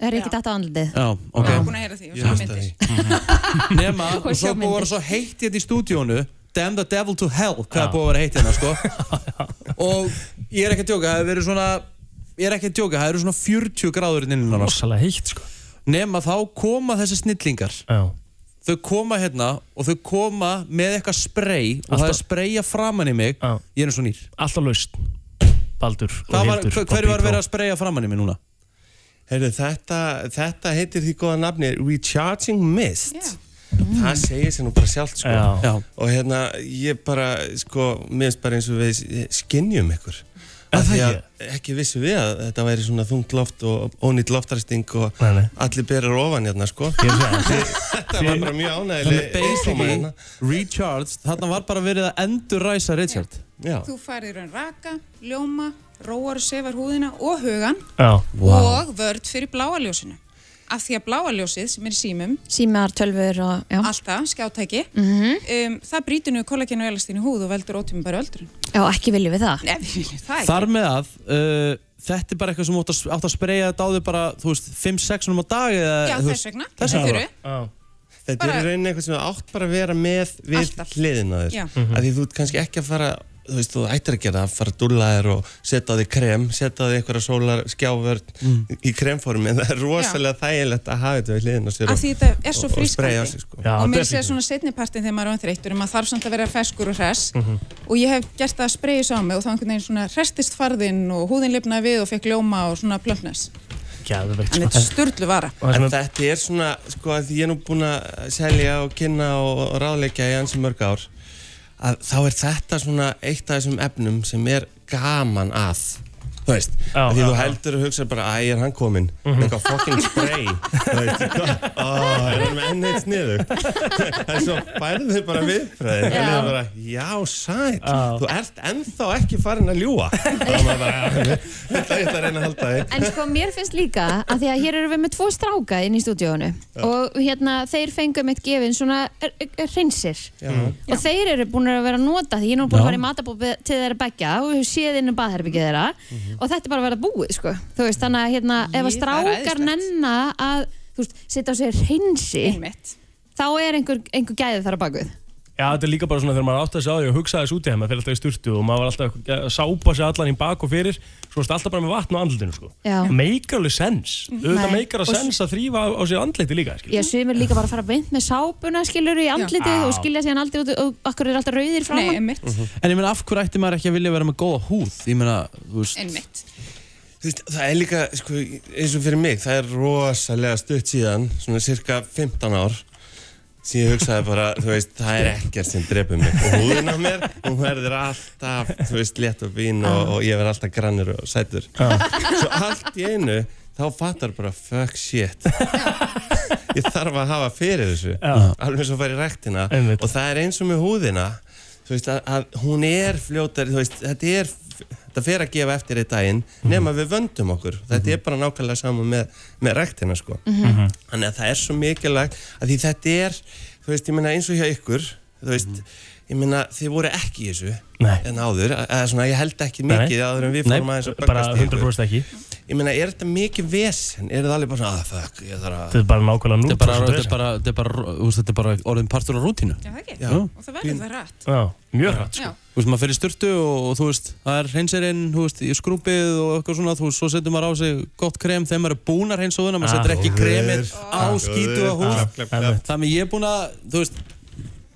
Er ekki dætt á andlitið? Já, ok Já, búin að heyra því, og sjá myndir. Nema, Og og sjá svo búið að vera svo heitt hérna í stúdíónu Damn the devil to hell, hvað er búið að vera heitt hérna, sko Og ég er ekki að djóka, það hefur verið svona Ég er ekki að djóka, það eru svona 40 gráður inn innan Rosalega heitt, sko Nema þá koma þessi snillingar Já Þau koma hérna og þau koma með eitthvað spray og það er spraya framann í mig Ég er eins og nýr Alltaf laust Baldur og Hvað var- Hildur hver- hverju var verið að spreyja framann í mig núna? Heyrðu, þetta, þetta heitir því góða nafni Recharging Mist Það segir sér nú bara sjálft sko. Já. Já. og hérna ég bara sko, mér finnst bara eins og við skinnjum ykkur Af því að ekki vissu við að þetta væri svona þungt loft og ónýtt loftarsting og allir berir ofan hérna sko Þetta var bara mjög hérna. ánægileg Þannig basically, Recharged, þarna var bara verið að endurræsa Richard Já Þú farir raun raka, ljóma, róar og sefar húðina og hugan Já og vörd fyrir bláa ljósinu. Af því að bláa ljósið sem er í símum, Símar, tölfur og, já. alltaf, skjátæki, Mhm. um, það brýtur nú kollagenu og elastín í húð og veldur ótíma bara öldrun. Já, ekki viljum Ah. við það. Nei, við viljum það ekki. Þar með að, uh, þetta er bara eitthvað sem þú átt að- átt að spreyja þetta á þig bara, þú veist, 5-6 um á dag eða, þú Já, þess veist, vegna. Þess Þetta vegna eru. Þetta er Bara- í rauninni eitthvað sem þú átt bara að vera með við Alltaf. hliðina þér. Já. Af því þú ert kannski ekki að fara, þú veist, þú ættir að gera að fara að dúlla þér og setja á þig krem, setja á þig einhverja sólar skjávörn í kremformi, en það er rosalega þægilegt að hafa þetta við hliðina sér Af því þetta er svo og- og spraya á frískandi. sig, sko. og mér segja svona setnipartin þegar maður er þreyttur og maður þarf samt að vera feskur og hress Mm. og ég hef gert það að spreyja svo á mig og þá einhvern veginn svona restist farðinn og húðin lifnaði við og fekk ljóma og svona plöfnes. Geðvegt, Þannig þetta er sturlu vara. En þetta er svona, sko, að því ég er nú búinn að selja og kynna og og ráðleggja í ansi mörg ár að þá er þetta svona eitt af þessum efnum sem er gaman að þú veist, Já, að því já, þú já. heldur og hugsa bara, æ, er hann kominn Mhm. eitthvað fucking spray þú veist, ó, er hann með enn eitt sniðu en svo færðu þau bara viðfræðin og Já. það er bara, já, sæl þú ert ennþá ekki farin að ljúa þá er maður bara, "Já, þetta ég ætla að reyna að halda þig En sko, mér finnst líka að því að hér eru við með tvo stráka inn í stúdíónu og hérna, þeir fengum eitt gefin svona er- er- hreinsir Mhm. og þeir eru búin að vera að nota því ég er nú búin Já. að fara í matabópi til þeirra begja og hefur séð inn um baðherbyggið þeirra og þetta er bara að vera búið, sko þú veist, þannig að hérna, ef að Jí, það er strákar nenna að, þú veist, setja á sig hreinsi þá er einhver, einhver gæði þar að bakuð Já, þetta er líka bara svona þegar maður átt að segja því og hugsa þess út í þeim, maður fyrir alltaf í sturtu og maður var alltaf að sápa sig allan í bak og fyrir, svo varst alltaf bara með vatn á andlutinu, sko. Já. Meikar alveg sens. Auðvitað Nei. meikar Og að s- sens að þrýfa á, á sér andliti líka, skil. Já, sumir líka bara að fara beint með sápuna skilur í andlitið Já. og skilja síðan aldrei út og akkur er alltaf rauðir frá Nei, einmitt. Mhm. En ég meina, af hverju ætti maður ekki að vilja vera með góða húð? Ég meina, þú veist, Einmitt. Þú veist, það er líka, sko, eins og fyrir mig, það er rosalega stutt síðan, svona cirka 15 ár, sem ég hugsaði bara, þú veist, það er ekkert sem drefur mig. Og húðin á mér, hún verður alltaf, þú veist, létt og fín og, og ég verð alltaf grannur og sætur. Svo allt í einu, þá fattar bara, fuck shit. Ég þarf að hafa fyrir þessu. Alveg eins og fara í rektina. Og það er eins og með húðina, þú veist, að, að hún er fljótar, þú veist, þetta er það fer að gefa eftir í daginn Mhm. nema við vöndum okkur þetta er bara nákvæmlega saman með, með rektina sko. Mhm. þannig að það er svo mikilvægt að því þetta er, þú veist, ég meina eins og hjá ykkur þú veist, ég meina þið voru ekki í þessu Mhm. Nei. en áður, eða svona ég held ekki Nei. mikið áður en við fórum Nei, aðeins að bara böggast í ykkur. 100% ekki ég meina, er þetta mikið vesen? er þetta alveg bara svona, að fuck, ég þarf að Þetta er bara nákvæmlega nú Þetta er bara, þetta er bara, þetta er bara, þú veist, þetta er bara orðin partur á rútínu. Já, það ekki. Já. Og það verður það rætt. Já, mjög hratt, sko. Já. Þú veist, maður fer í styrtu og, og þú veist, það er hreinserinn, þú veist, í skrúpið og eitthvað svona, þú veist, svo setur maður á sig gott krem þegar maður er búinn að hreinsuðuna, maður Ah, setur ekki góður. kremið á Ah, skítu og góður. húð. Ah, klapp, klapp. Þannig ég er búinn að, þú veist,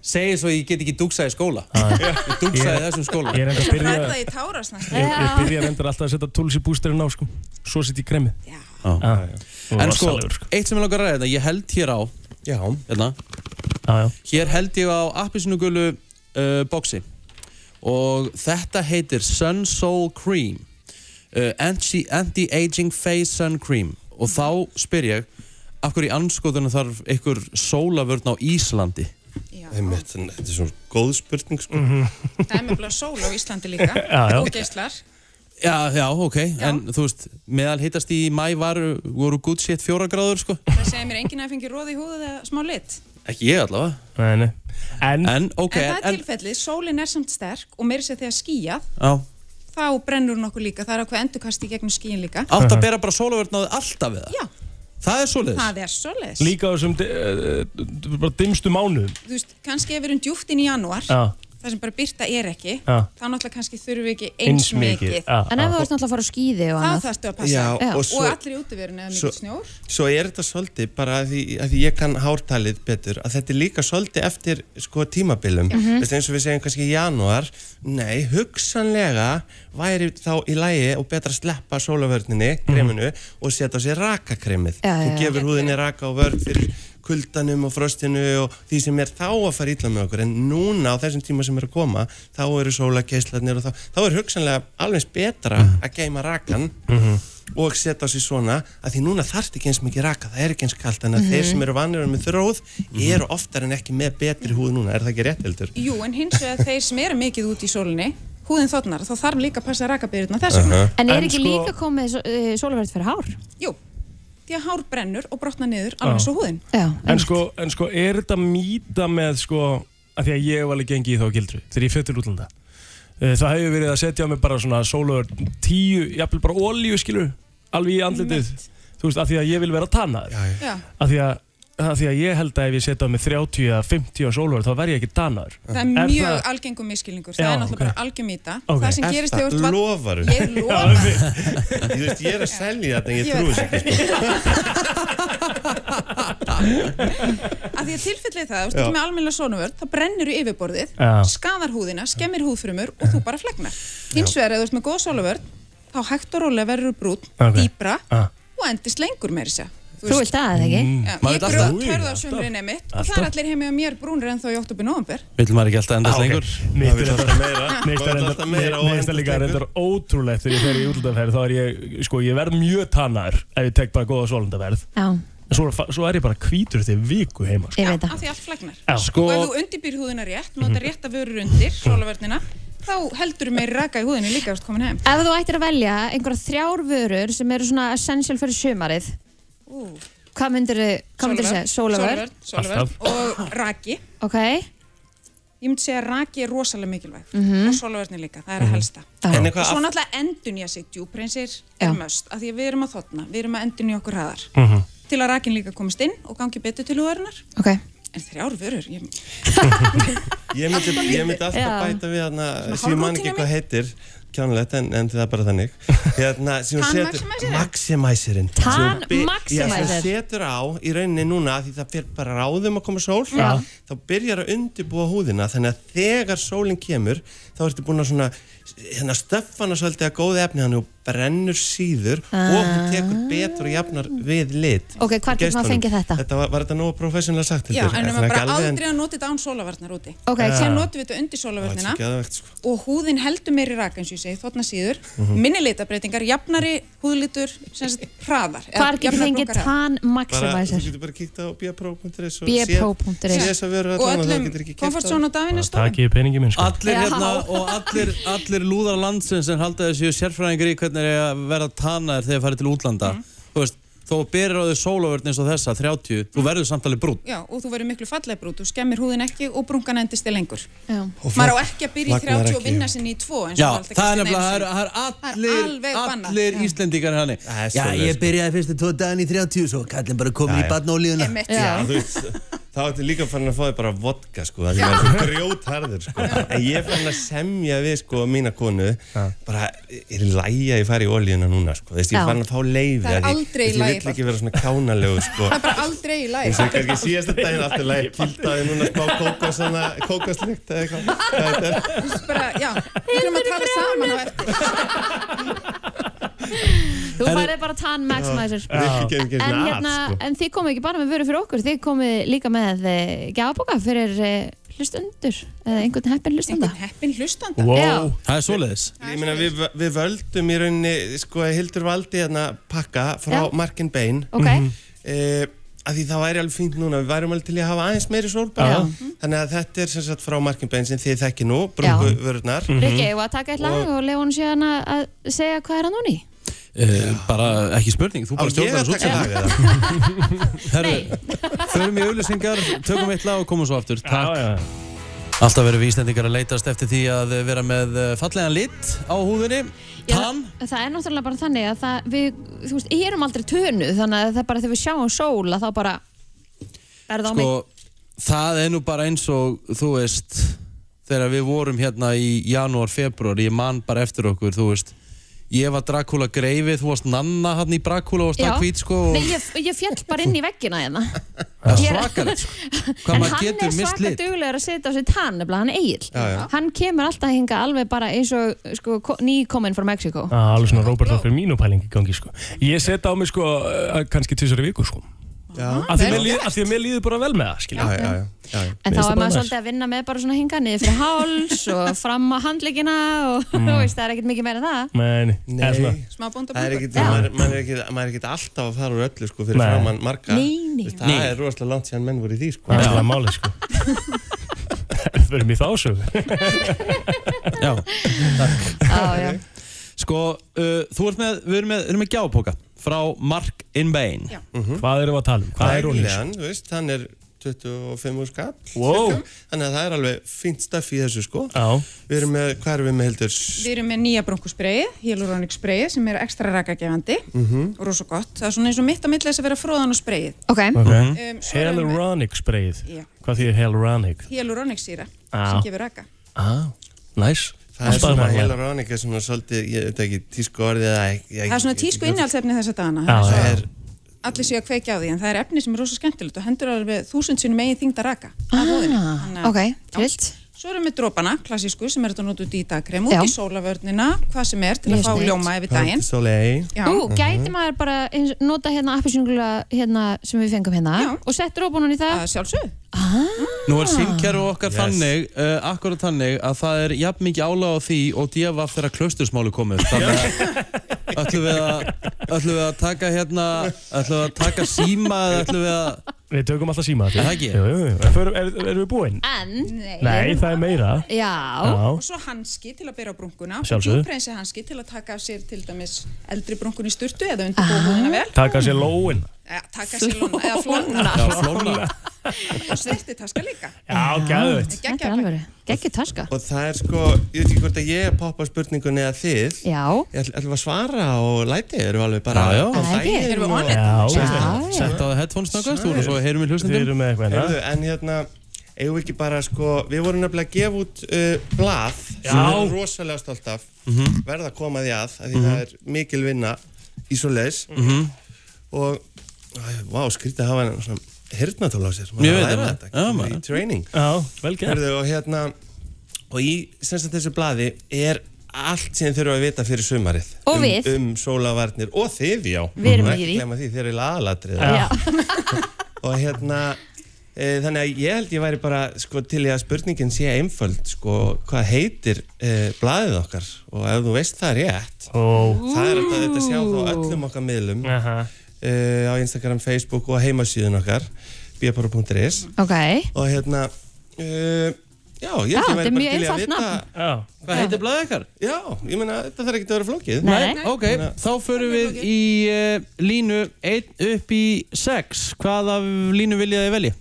segja svo að ég get ekki dúksað í skóla. Ah. Ég dúksaði í þessum skóla. Ég er enda að byrja Rætt það í táras næst. Ég, ég byrja reyndar alltaf að setja tools í bústurinn á sko Svo setja ég kremið Já, Og En sko, rosalegur, eitt sem ég langar að ræða, hérna, ég held hér á, já. hérna, já, já. hér held ég á appisinugulu uh, boxi og þetta heitir Sun Soul Cream uh, anti- Anti-Aging Face Sun Cream og þá spyr ég af hverju í anskotunum þarf einhver sólavörn á Íslandi Einmitt, en þetta er svona góð spurning sko. Mhm. Það er með blá sól á Íslandi líka. Já, já. Og geislar. Já, já, ok, en þú veist, meðal hittast í mæ varu, voru good shit fjóra gráður, sko? Það segir mér enginn að fengi róð í húðu eða smá lit. Ekki ég allavega. Nei, nei. En, en ok, en það er tilfellið, sólin er samt sterk og meiri sér þegar skýjað, Já, þá brennur hún okkur líka. Það er okkur endurkast í gegnum skýjin líka. átt Uh-huh. að bera bara sólavörn á þig alltaf við það? Já. Það er svoleiðis? Það er svoleiðis. Líka á þessum di- eh, eh, bara dimstu mánuðum Þú veist, kannski ef við erum djúft inn í janúar, Já, það sem bara byrta er ekki, já þá náttúrulega kannski þurfum við ekki Eins eins mikið, mikið. já, En ef þú varst náttúrulega að fara á skýði og Þá annað þarftu að passa. Já, og, og svo- allir í útiverun eða svo- mikið snjór. Svo er þetta svolítið bara að því, að því ég kann hártalið betur að þetta er líka svolítið eftir sko tímabilum mm Mhm. eins og við segjum kannski í janúar nei, hugsanlega væri þá í lægi og betra að sleppa sólavörninni, kreminu og setja á sér rakakremið Mhm. Já, þú já, já. gefur húðinni raka og vörn fyrir kuldanum og frostinu og því sem er þá að fara illa með okkur en núna á þessum tíma sem er að koma þá eru sólakeislarnir og þá, þá er hugsanlega alveg betra Mhm. að geima rakan Mhm. og setja á sig svona að því núna þarft ekki eins mikið raka, það er ekki eins kalt en að Mhm. þeir sem eru vanir með þróð eru oftar en ekki með betri húð núna, er það ekki rétt heldur? Jú, en hins vegar þeir sem eru mikið út í sólinni, húðin þotnar, þá þarf líka að passa rakabyrðuna þess vegna. Aha. En er sko- ekki líka komið sólaverð fyrir hár? Jú, því að hár brennur og brotnar niður, Já. alveg svo húðin. Já, en sko, en sko, er þetta mýta með sko, að því að ég hef alveg gengið í þá gildru þegar ég fyrir til útlanda Eh, það hefur verið að setja á mig bara svona sólöður tíu, jafnvel bara olíu skilur alveg í andlitið, þú veist, að því að ég vil vera tannaður Já. að því að að því að ég held að ef ég setja á mig 30 eða 50 á sólöður þá verð ég ekki danaður Það er mjög það... algengum miskilningur, það Já, er náttúrulega ok. bara algjum í það. Ok. Það sem Er gerist það- þegar þú ert vatn... Lofaru? Ég lofa. Þú veist, ég er að selja þetta en ég Ég trúi veit þessu ekki sko. Af því að tilfellið það, þú Já. veist, með almennilega sónuvörð, þá brennur í yfirborðið, Já. skadar húðina, skemmir húðfrumur og þú bara flegnar. Hins vegar, ef þú ert með góð sónuvörð, þá hægt og rólega verður brún, Ok. dýpra Ah. og endist lengur meira sér. Þú vilt að það ekki? Mm. Já, Maður ég vill alltaf- brún törða á sjömrinni mitt og það er Alltaf. allir heimi á mér brúnir ennþá í oktober-november. Vill maður ekki alltaf endast Ah, ok. lengur? Mér Maður finnst vill alltaf þetta- mér finnst Maður þetta vill reyndar- alltaf mér- meira og mér finnst það endast líka reyndar ótrúlegt þegar ég fer í útlandaferð þá er ég, sko, ég verð mjög tannar ef ég tek bara góða sólandaferð Já, en svo, svo er ég bara hvítur þegar viku heima sko. ég veit Af því allt flegnar. Já. Sko- Og ef þú undirbýr húðina rétt, nota rétta vörur undir sólavörnina, þá heldur meiri raka í húðinni líka eftir komin heim. Ef þú ættir að velja einhverja þrjár vörur sem eru svona essential fyrir sumarið Ú. Hvað myndir hvað myndir segja? Sólavörn Sólavörn og raki. Ok, Ég myndi segja að raki er rosalega mikilvægt Mhm. og sólavörni líka, það er að helsta. Já. En eitthvað Og svo aft- náttúrulega endun ég sig djúprinsir Já. er möst, af því að við erum að þotna, við erum að endun okkur hraðar. Mhm. Til að rakin líka komist inn og gangi betur til húðarinnar. Ok. En þrjár vörur, ég... ég, myndi, ég myndi alltaf Já. bæta við hérna, Svona sem ég man ekki hárrútína hvað heitir kjánulegt, en, en það er bara þannig hérna, sem hún setur- Tannmaximæsirinn? Maximæsirinn Sem hún bi- Tannmaximæsir. Já, sem hún setur á í rauninni núna af því það fyrir bara ráðum að koma sól Já. þá byrjar að undirbúa húðina þannig að þegar sólinn kemur þá ertu búin að svona hérna stöffana svolítið að góða efni hann og brennur síður og hún tekur betur og jafnar við lit Ah. Ok, hvar getur maður Geislanum. fengið þetta? var, var þetta nógu professional sagt Já, Hildur? en Þetta við er bara ekki alveg en- aldrei að nota þetta án sólavarnar úti. Ok. Sér Já. notum við þetta undir Það er sólavarnina svo geðvegt, sko. og húðin heldur meiri raka eins og ég ég segi, þotna síður Mhm. minni litabreitingar, jafnari húðlítur sem sagt hraðar eða Hvar getur jafnari fengið brúnkarhraðar. tan maximizer? Þú getur bara kíkt á bpro.is bpro.is. Sér þess að vera og öllum komfort svona daginu stóð Takk ég peningi minn sko Allir Já. hérna og allir, allir lúðar landsins sem halda þessu sérfræðingar í hvernig er að vera tanaðir þegar farið til útlanda Mhm. Þú veist, þó að byrjar á því sólavörn eins og þessa, 30, þú verður samt alveg brún Já, og þú verður miklu falleg brút, þú skemmir húðin ekki og brungan endist þig lengur. Já. Og Maður á flagnar- ekki að byrja í flagnar 30 og ekki. vinna sinni í 2 eins og Já, alltaf það er gert nefnilega, einu það er- sinni. það er allir, alveg bannað. allir Íslendingar hann Já, svoleiðis, sko. ég byrjaði fyrstu tvo daginn í 30 svo kallin bara komin Já, í já. badnólíuna Einmitt. Já, þú veist, þá ertu líka fann að fá þig bara vodka, sko, það er svo grjótharður, sko. En ég fann að semja við, sko, mína konu, bara, er í lægi að ég fari í olíuna núna, sko, þú veist, Já. ég fann að fá leiði. Það er aldrei í lagi, Ég vill ekki vera svona kánalegu, sko. Það er bara aldrei í Þú lagi. veist, það er kannski síðasta daginn aftur lægi, kildaði núna smá kókosana, kókoslykt eða eitthvað. Hvað þetta er? Þú veist bara, já, við erum að tala saman á eftir. Þú færið bara tan maximizer Já. Rikki kemur ekki einu En, sinni að, hérna, sko. en þið komið ekki bara með vöru fyrir okkur Þið komið líka með gjafaboka fyrir eh, hlustundur eða einhvern heppin hlustunda Einhvern heppin hlustunda Wow. Það er svoleiðis Ég meina, við, við völdum í rauninni, sko, Hildur valdi hérna pakka frá Já. Markin Bain Ok. Mhm. eh, að því það væri alveg fínt núna, við værum alveg til í að hafa aðeins meiri sólbæð Já. Mhm. þannig að þetta er sem sagt frá Markin Bain sem þið þekki nú, brúku vörurnar Mhm. Mhm. Rikki, eigum við að taka eitt lag og leiða hún síðan að að segja hvað er hann núni? Eh, Bara ekki spurning, þú bara Á, ég stjórnar að þessu taka útsendingu. lag, Förum í auðlýsingar, tökum eitt lag og komum svo aftur Takk Alltaf verðum við Íslendingar að leitast eftir því að vera með eh, fallegan lit á húðinni Tann Það er náttúrulega bara þannig að það, við, þú veist, ég erum aldrei tönu þannig að það er bara þegar við sjáum sól að þá bara er það á mig Sko, það er nú bara eins og þú veist þegar við vorum hérna í janúar, februar ég man bara eftir okkur, þú veist ég var Dracula greifi, þú varst Nanna hann í Dracula og varst Já. það hvít sko Nei, og ég, ég fjall bara inn í veggina hérna það Ég er er- svakalegt sko. En hvað maður hann er getur mist svaka lit duglegur að setja á sér tann nefnilega, hann Já, já. eigil Hann kemur alltaf hinga alveg bara eins og sko, nýkominn frá Mexiko Ah, alveg svona Robert Hoffman mínu pæling í gangi sko. Ég set á mig sko, eh, kannski tísari viku sko. Af því að mér líður- af því að mér líður bara vel með það skilja. Já, já, já, já. En þá er maður svolítið að vinna með bara svona hinga niður fyrir háls og fram á handleggina og þú veist, það er ekkert mikið meira en það Nei, Nei. Smá bónda Það er ekkit, Já. maður, maður, er ekkit, maður er ekkit alltaf að fara úr öllu sko fyrir Nei. framann marga Nei, nei. Þú veist, Það Nei. er rosalega langt síðan menn voru í því sko Það er það máli sko. Við verum í þá sögu. Já, takk já. Sko, uh, þú ert með, við erum með, erum með gjápoka frá Mark in Bain Mhm. Hvað erum við að tala um? Hvað er hún í þessu? Dælan, þú veist, hann er 25 úr skall Wow. cirka. Þannig að það er alveg fínt stöff í þessu sko Já. Við erum með, hvað erum við með heldur? Við erum með nýja brúnkusbreið, hyaluronic spreið sem er ekstra rakagefandi Mhm. og rosa gott. Það er svona eins og mitt á milli þess að vera fróðan og spreið. Ok. Mhm. Um, svo erum við- Hyaluronic sprayið. Já. Hvað þýðir hyaluronic? Hyaluronic síra Já. sem gefur raka. Ah, nice. Það er Alltaf svona bara- hérna. hyaluronic er svona svolítið, ég veit ekki tísku orðið eða ég- ég- Það er svona tísku innhaldsefni þessa dagana. Já, Það já. er svona- Allir séu að kveikja á því en það er efni sem er rosa skemmtilegt og hendur alveg þúsund sinni megin þingda raka. Ah, ok, trillt. Svo erum við dropana, klassísku, sem er þetta notuð í dagkrem út í sólavörnina, hvað sem er, til að Mjög fá sniðugt. ljóma yfir daginn. Solei Já. Mhm. Ú, gæti maður bara eins- nota hérna appisingula hérna sem við fengum hérna og sett róbunum í það? Ah. Sjálfsög. Nú er símkjæru okkar Yes. þannig, uh, akkurat þannig að það er jafn mikið álag á því og djöfaf þegar klaustursmáli komið þannig að ætlum við að ætlum við að taka hérna ætlum við að taka síma eða ætlum við að Við tökum alltaf síma Er það ekki? Jú, jú, jú. En förum- er- Erum við búin? En? Nei. Nei, það er meira. Já. Já. og svo hanski til að bera á brúnkuna og Sjálfsögðu. djúpreinsi hanski til að taka af sér til dæmis eldri brúnkun í sturtu eða undirbúa húðina vel Taka sér lóin. eða taka sér lóna eða flóna Já, flóna. og styrti taska líka Já, gæðveitt. Þetta er alveg, geggju taska. Og það er sko, ég veit ekki hvort að ég poppa spurningunni eða þið Já Ég ætl- ætlum að svara og læti eru alveg bara Já, já. á Það er ekki. daginn Erum við og- on it? Já, Já, já. Sett á þig headphones snöggvast, þú erum svo- heyrum við hlustendum. Við erum með eitthvað hérna. Heyrðu, En hérna, eigum við ekki bara sko Við vorum nefnilega að gefa út uh, blað Já. sem við erum rosalega stolt af Mhm. verða að koma því að, af því Mhm. það er mikil vinna í svo leis Mhm. og, æ, vá, skrítið að hafa hann svona hirtnatól á sér Ég veit að læra það. þetta, Já, kemur maður. í training Já, vel gert. Heyrðu, og hérna, og í sem sagt þessu blaði er allt sem þið þurfum að vita fyrir sumarið Og um, við. um sólavarnir og þið, já Við erum Má ekki í því. gleyma því, þið eru aðalatrið Já. og hérna Eh, Þannig að ég held ég væri bara sko, til í að spurningin sé einföld sko, hvað heitir e, blaðið okkar og ef þú veist það rétt oh. það er alltaf þetta sjá þá á öllum okkar miðlum uh á Instagram, Facebook og heimasíðun okkar bjapara.is Ok, og hérna uh, já, ég Já, held ég þetta er væri bara mjög til í að einfalt vita nafn. hvað heitir blaðið okkar? Já, ég meina þetta þarf ekki að vera flókið Nei, ok, þá förum við í uh, línu 1 upp í 6 Hvaða línu vilja þið velja?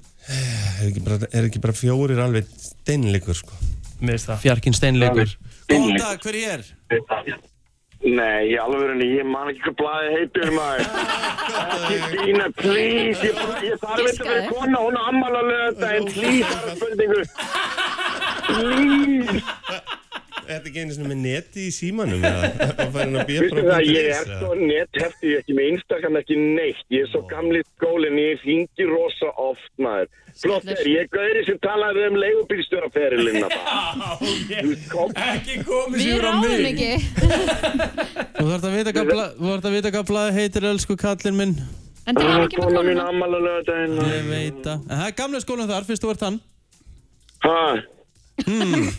Er ekki bara, er ekki bara fjórir alveg steinleikur sko Mist það Fjarkinn steinleikur Góðan dag, hver er ég? Nei, í alvörunni, ég man ekki hvað blaði heitir maður Ekki Stína, please Ég, bara- ég þarf eitthvað fyrir kona, hún á amman að löða þetta En please, það er spurningu Please Er þetta ekki einu svona með neti í símanum eða? Og farin að Vistu bjöfra það, ég er svo netthefti, ég er ekki með Instagram, ekki neitt. Ég er svo gamli skólinn, ég hringi rosa oft, maður. Flott er, ég er gauri sem talaði um leigubílstjóraferilina bara. Ekki komið Við ráðum ekki Þú þarf að vita hvað bla- þú þarft að vita hvað blaðið heitir, elsku kallinn minn En það er ekki með Kona mín konuna ammala lögadaginn. Ég veit það En það er gamlega skólan þar, fyrst þú ert hann Hmm.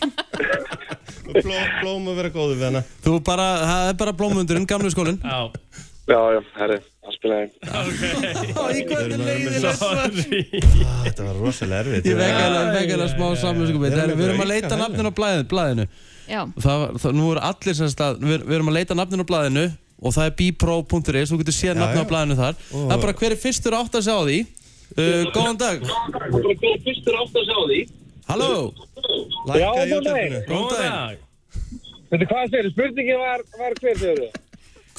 Ha, Blóm að vera góður við hana Þú bara, það er bara blómundurinn, gamlega skólinn Já já, já, herri, það spilaði. Í hvernig leiðilegt svar Ah, Þetta var rosalega erfitt Ég vekkaðlega smá samvinskupið Við erum Við erum að bara að leita auka nafnin á blæðinu, blæðinu. Já, Það, var- það, Nú eru allir sem stað Við, við erum að leita nafnin á blæðinu Og það er bipro.is, þú getur séð nafnin á já. blæðinu þar Það er bara hver er fyrstur átt að sjá því uh, Góðan dag Bara góð fyrstur átt að sjá því. Halló Já, Lækkaðu í góðan útvarpinu. dag. Góðan dag Veitu hvað þeirri, spurningin var, var hver þeirri?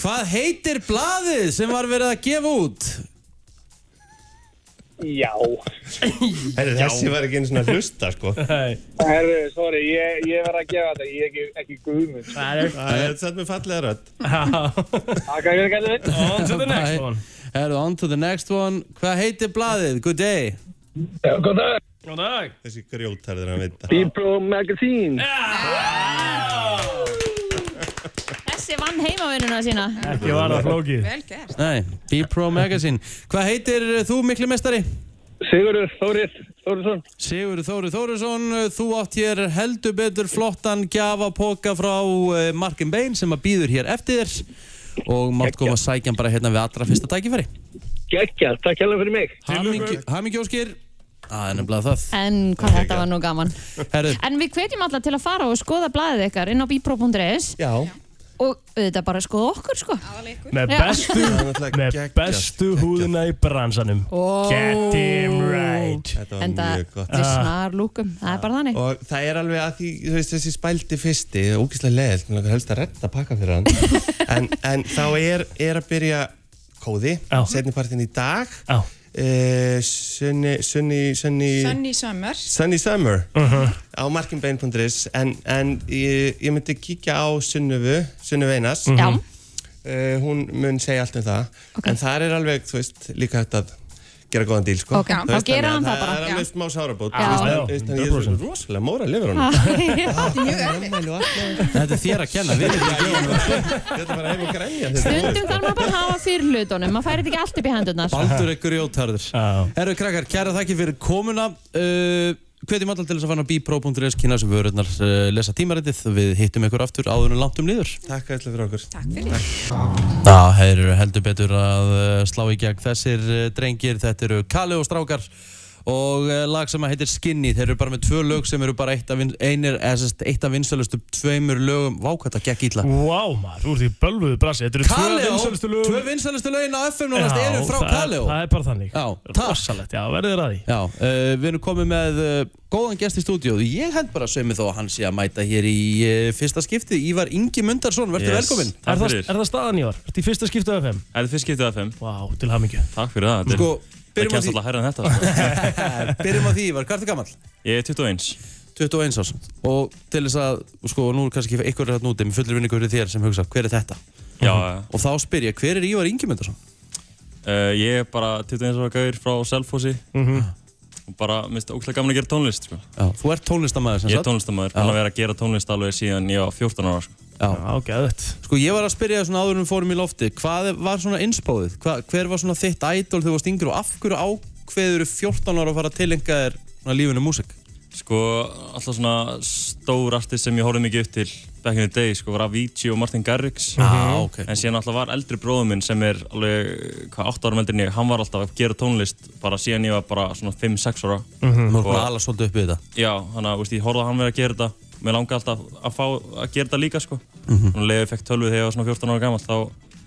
Hvað heitir blaðið sem var verið að gefa út? Já. Herri, þessi var ekki einu svona hlusta sko Herri, sorry, ég, ég verð að gefa þetta, ég er ekki, ekki guðmund. Það er satt með fallega rödd Það kann ég ekki að On to the next one Herðu, on to the next one Hvað heitir blaðið? Good day Góð dag. Góðan dag Þessi grjótarður að vita Bibro Magazine. þessi vann heimavinnuna sína Ekki var það flókið Vel gert. Nei, B-Pro Magazine Hvað heitir uh, þú mikli mestari? Sigurður Þórið Þórisson. Sigur Þóri Þórisson, uh, þú átt hér heldur betur flottan gjafapoka frá uh, Markin Bein sem að býður hér eftir þér og mátt koma að sækja hann bara hérna við allra fyrsta tækifæri Gekkja, takk hérlega fyrir mig. Hammingi Óskir Það er nefnilega það En hvað þetta var nú gaman Herru, En við hvetjum alla til að fara og skoða blaðið ykkar inn á bipro.is Já og auðvitað bara skoða okkur sko Með Já. bestu, náttúrulega með bestu húðina í bransanum Ó. Get him right Ah. Þetta var En það mjög gott við snar lúkum, það er bara þannig Og það er alveg að því, þú veist, þessi spældi fyrsti, það er ógeðslega leðilt, mér langar helst að redda pakka fyrir hann. en, en þá er, er að byrja kóði, setnipartin í dag, Eh, uh, sunni, sunni, sunni, Sunny Summers. sunny summer Uh-huh. á markinbein.is, en, en ég, ég myndi kíkja á Sunnuvu, Sunnuvu Einars. Já. Eh, hún mun segja allt um það, en þar er alveg, þú veist, líka hægt að gera góðan díl, sko. Ok, Þú þá veist, gerir þannig hann að það Það bara. er alveg smá sárabót, Já. þú veist, Já, en- þú veist, en ég er svo 100%. rosalega móra lifur hann. Þetta er mjög erfitt. þetta er þér að kenna, við erum ekki Þetta bara hefur grænja Stundum þarf maður bara að hafa fyrir hlutunum maður færi þetta ekki allt upp í hendurnar Baldur ekkur í ótarður. Já. Herru krakkar, kæra þakki fyrir komuna. Uh, Hvetjum allar til þess að fara á bipro.is, kynna sem vörurnar, uh, lesa tímaritið. Við hittum ykkur aftur áður en langt um niður. Takk ætla fyrir okkur. Takk fyrir. Já, þeir eru heldur betur að uh, slá í gegn þessir uh, drengir. Þetta eru Kalli og Strákar og uh, lag sem að heitir Skinny. Þeir eru bara með tvö lög sem eru bara eitt af, vin- einir, eða sem sagt, eitt af vinsælustu tveimur lögum. Vá, hvað þetta gekk illa. Vá maður, þú ert í bölvuðu brasi Þetta eru tvö Kalli og vinsælustu lög tvö vinsælustu lögin á FM núna eru frá Kalli Það er bara þannig Já, takk. Rossalegt, já, verðið þér að því Já, uh, við erum komið með uh, góðan gest í stúdíu Ég hend bara sömu þó að hann sé að mæta hér í uh, fyrsta skipti Ívar Ingi Mundarsson, verður Yes. velkominn Takk Er það, fyrir. er það staðan í var? Ertu í fyrsta skiptu af FM? Er þið fyrst skiptið FM? Vá, til hamingju Takk fyrir það, þetta er- Sko, það byrjum á kemst því, alltaf hærra en þetta sko. Eh, byrjum á því Ívar, hvað ertu gamall? Ég er 21 21 árs Og til þess að, sko, nú er kannski ykkur er þetta núti Mér fullir vinningu fyrir þér sem hugsa, hver er þetta? Já, já. Og þá spyr ég, hver er Ívar Ingi Mundarsson? uh, Ég er bara 21 ára gaur frá Selfossi Mhm. og bara, mér finnst ógæðlega gaman að gera tónlist sko. Já, þú ert tónlistamæður sem Ég er tónlistamæður, Já. hann að vera að gera tónlist alveg síðan ég var 14 ára sko. Já, gæðut Sko, ég var að spyrja svona áður en við fórum í lofti Hvað var svona innspáðið? Hva, hver var svona þitt idol þegar þú varst yngri og af hverju ákvaðstu ákveður 14 ára að fara að tilenga þér svona lífinu um músik? Sko, alltaf svona stór artist sem ég horfði mikið upp til back in the day, sko, var Avicii og Martin Garrix Ah, ok. En síðan alltaf var eldri bróður minn sem er alveg, hvað, 8 ára meldur en ég Hann var alltaf að gera tónlist bara síðan ég var bara svona 5-6 ára Mhm. Nú er Og- bara alveg svolítið uppið þetta. Já, þannig að, veist, ég horfði að hann verið að gera þetta Mér langaði alltaf að fá að gera þetta líka, sko Mhm. Þannig að leiði ég fekk tölvu þegar ég var svona 14 ára gamall Þá,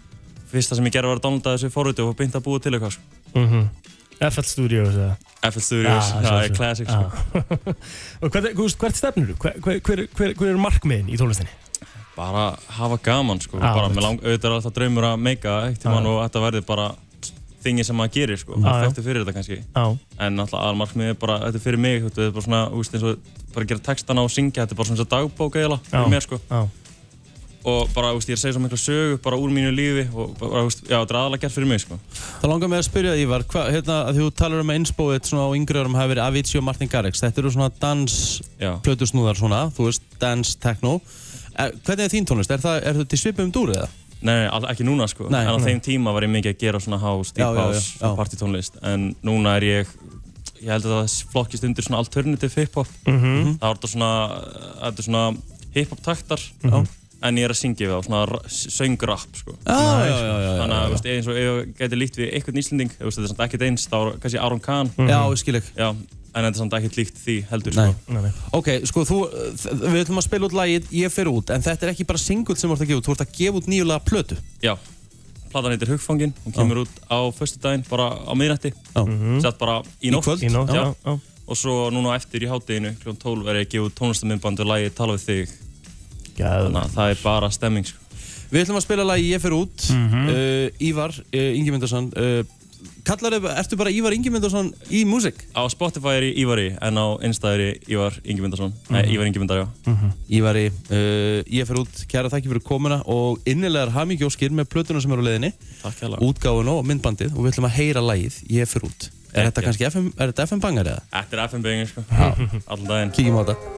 fyrsta sem ég gerði var að downloada þessu forriti og beint að búa til eitthvað, sko FL Studios eða? FL Studios, Ah, já, sjálfsögðu. er classic, sko. Ah. og hvert, hvert, hvert stefnir þú? Hver, hver, hver, hver, hver er markmiðin í tónlistinni? bara hafa gaman sko, Já, bara einmitt. með lang, auðvitað er alltaf draumur að meika eitt tímann Já. og þetta verði bara þingi sem maður gerir sko, Já, maður já. þekktu fyrir þetta kannski Já. en alltaf aðalmarkmiðið er bara, þetta er fyrir mig þú veist, þetta er bara svona, þú veist, eins og bara gera textana og syngja, þetta er bara svona eins og dagbók eiginlega Já, fyrir mér sko já. og bara, þú veist, ég er að segja svo mikla sögu bara úr mínu lífi og bara, þú veist, já, þetta er aðalega gert fyrir mig sko Það langar mig að spyrja Ívar, hva, hérna, að þú talar um að innspóið svona á yngri árum hafi verið Avicii og Martin Garrix. Þetta eru svona dans plötusnúðar svona, þú veist, dans, techno. Eh, Hvernig er þín tónlist? Er, það, er þú til svipum dúr eða? Nei, nei, all- ekki núna sko, Nei, en á nei. þeim tíma var ég mikið að gera svona house, Já, deep já, já, house, já. partytónlist En núna er ég, ég held að það flokkist undir svona alternative hip-hop Mhm. Það var þetta svona, þetta er svona hip-hop taktar Mhm. En ég er að syngja við á svona ra- söngrapp sko Já, já, já, já, já, Þannig að já. þú veist, eins og ég gæti líkt við einhvern Íslending, þú veist, þetta er samt ekkert eins, þá er kannski Aron Kahn Mhm. Já, ég skil ekki Já, en þetta er samt ekkert líkt því heldur Nei. sko Nei, nei. Ok, sko, þú, þ- við ætlum að spila út lagið Ég fer út, en þetta er ekki bara single sem þú ert að gefa út, þú ert að gefa út nýjulega plötu. Já, platan heitir Hugfangin, hún kemur út á föstudaginn, bara á miðnætti Mhm. Sett bara í Í nótt kvöld. Í nótt, já, já. Og svo núna á eftir í hátteginu, kl. 12 er ég að gefa út tónlistamindband og lagið Tala við þig Gæðvægt. Þannig að það er bara stemming sko. Við ætlum að spila lagi Ég fer út Mhm. uh, Ívar, uh, Ingi Myndarsson uh, Kallar þau, ertu bara Ívar Ingi Myndarsson í músík? Á Spotify er ég Ívari, en á Insta er ég Ívar Ingemyndarsson Nei, Mhm. Ívar Ingemyndar, já Ívari, uh, ég fer út, kæra þakki fyrir komuna og innilegar hamingjóskir með plötuna sem eru á leiðinni Takk hérlega. Útgáfuna og myndbandið og við ætlum að heyra lagið Ég fer út Er þetta Ekki. kannski FM, er þetta FM bangar eða? Þetta er FM-bengið sko, allan daginn Kíkjum á þetta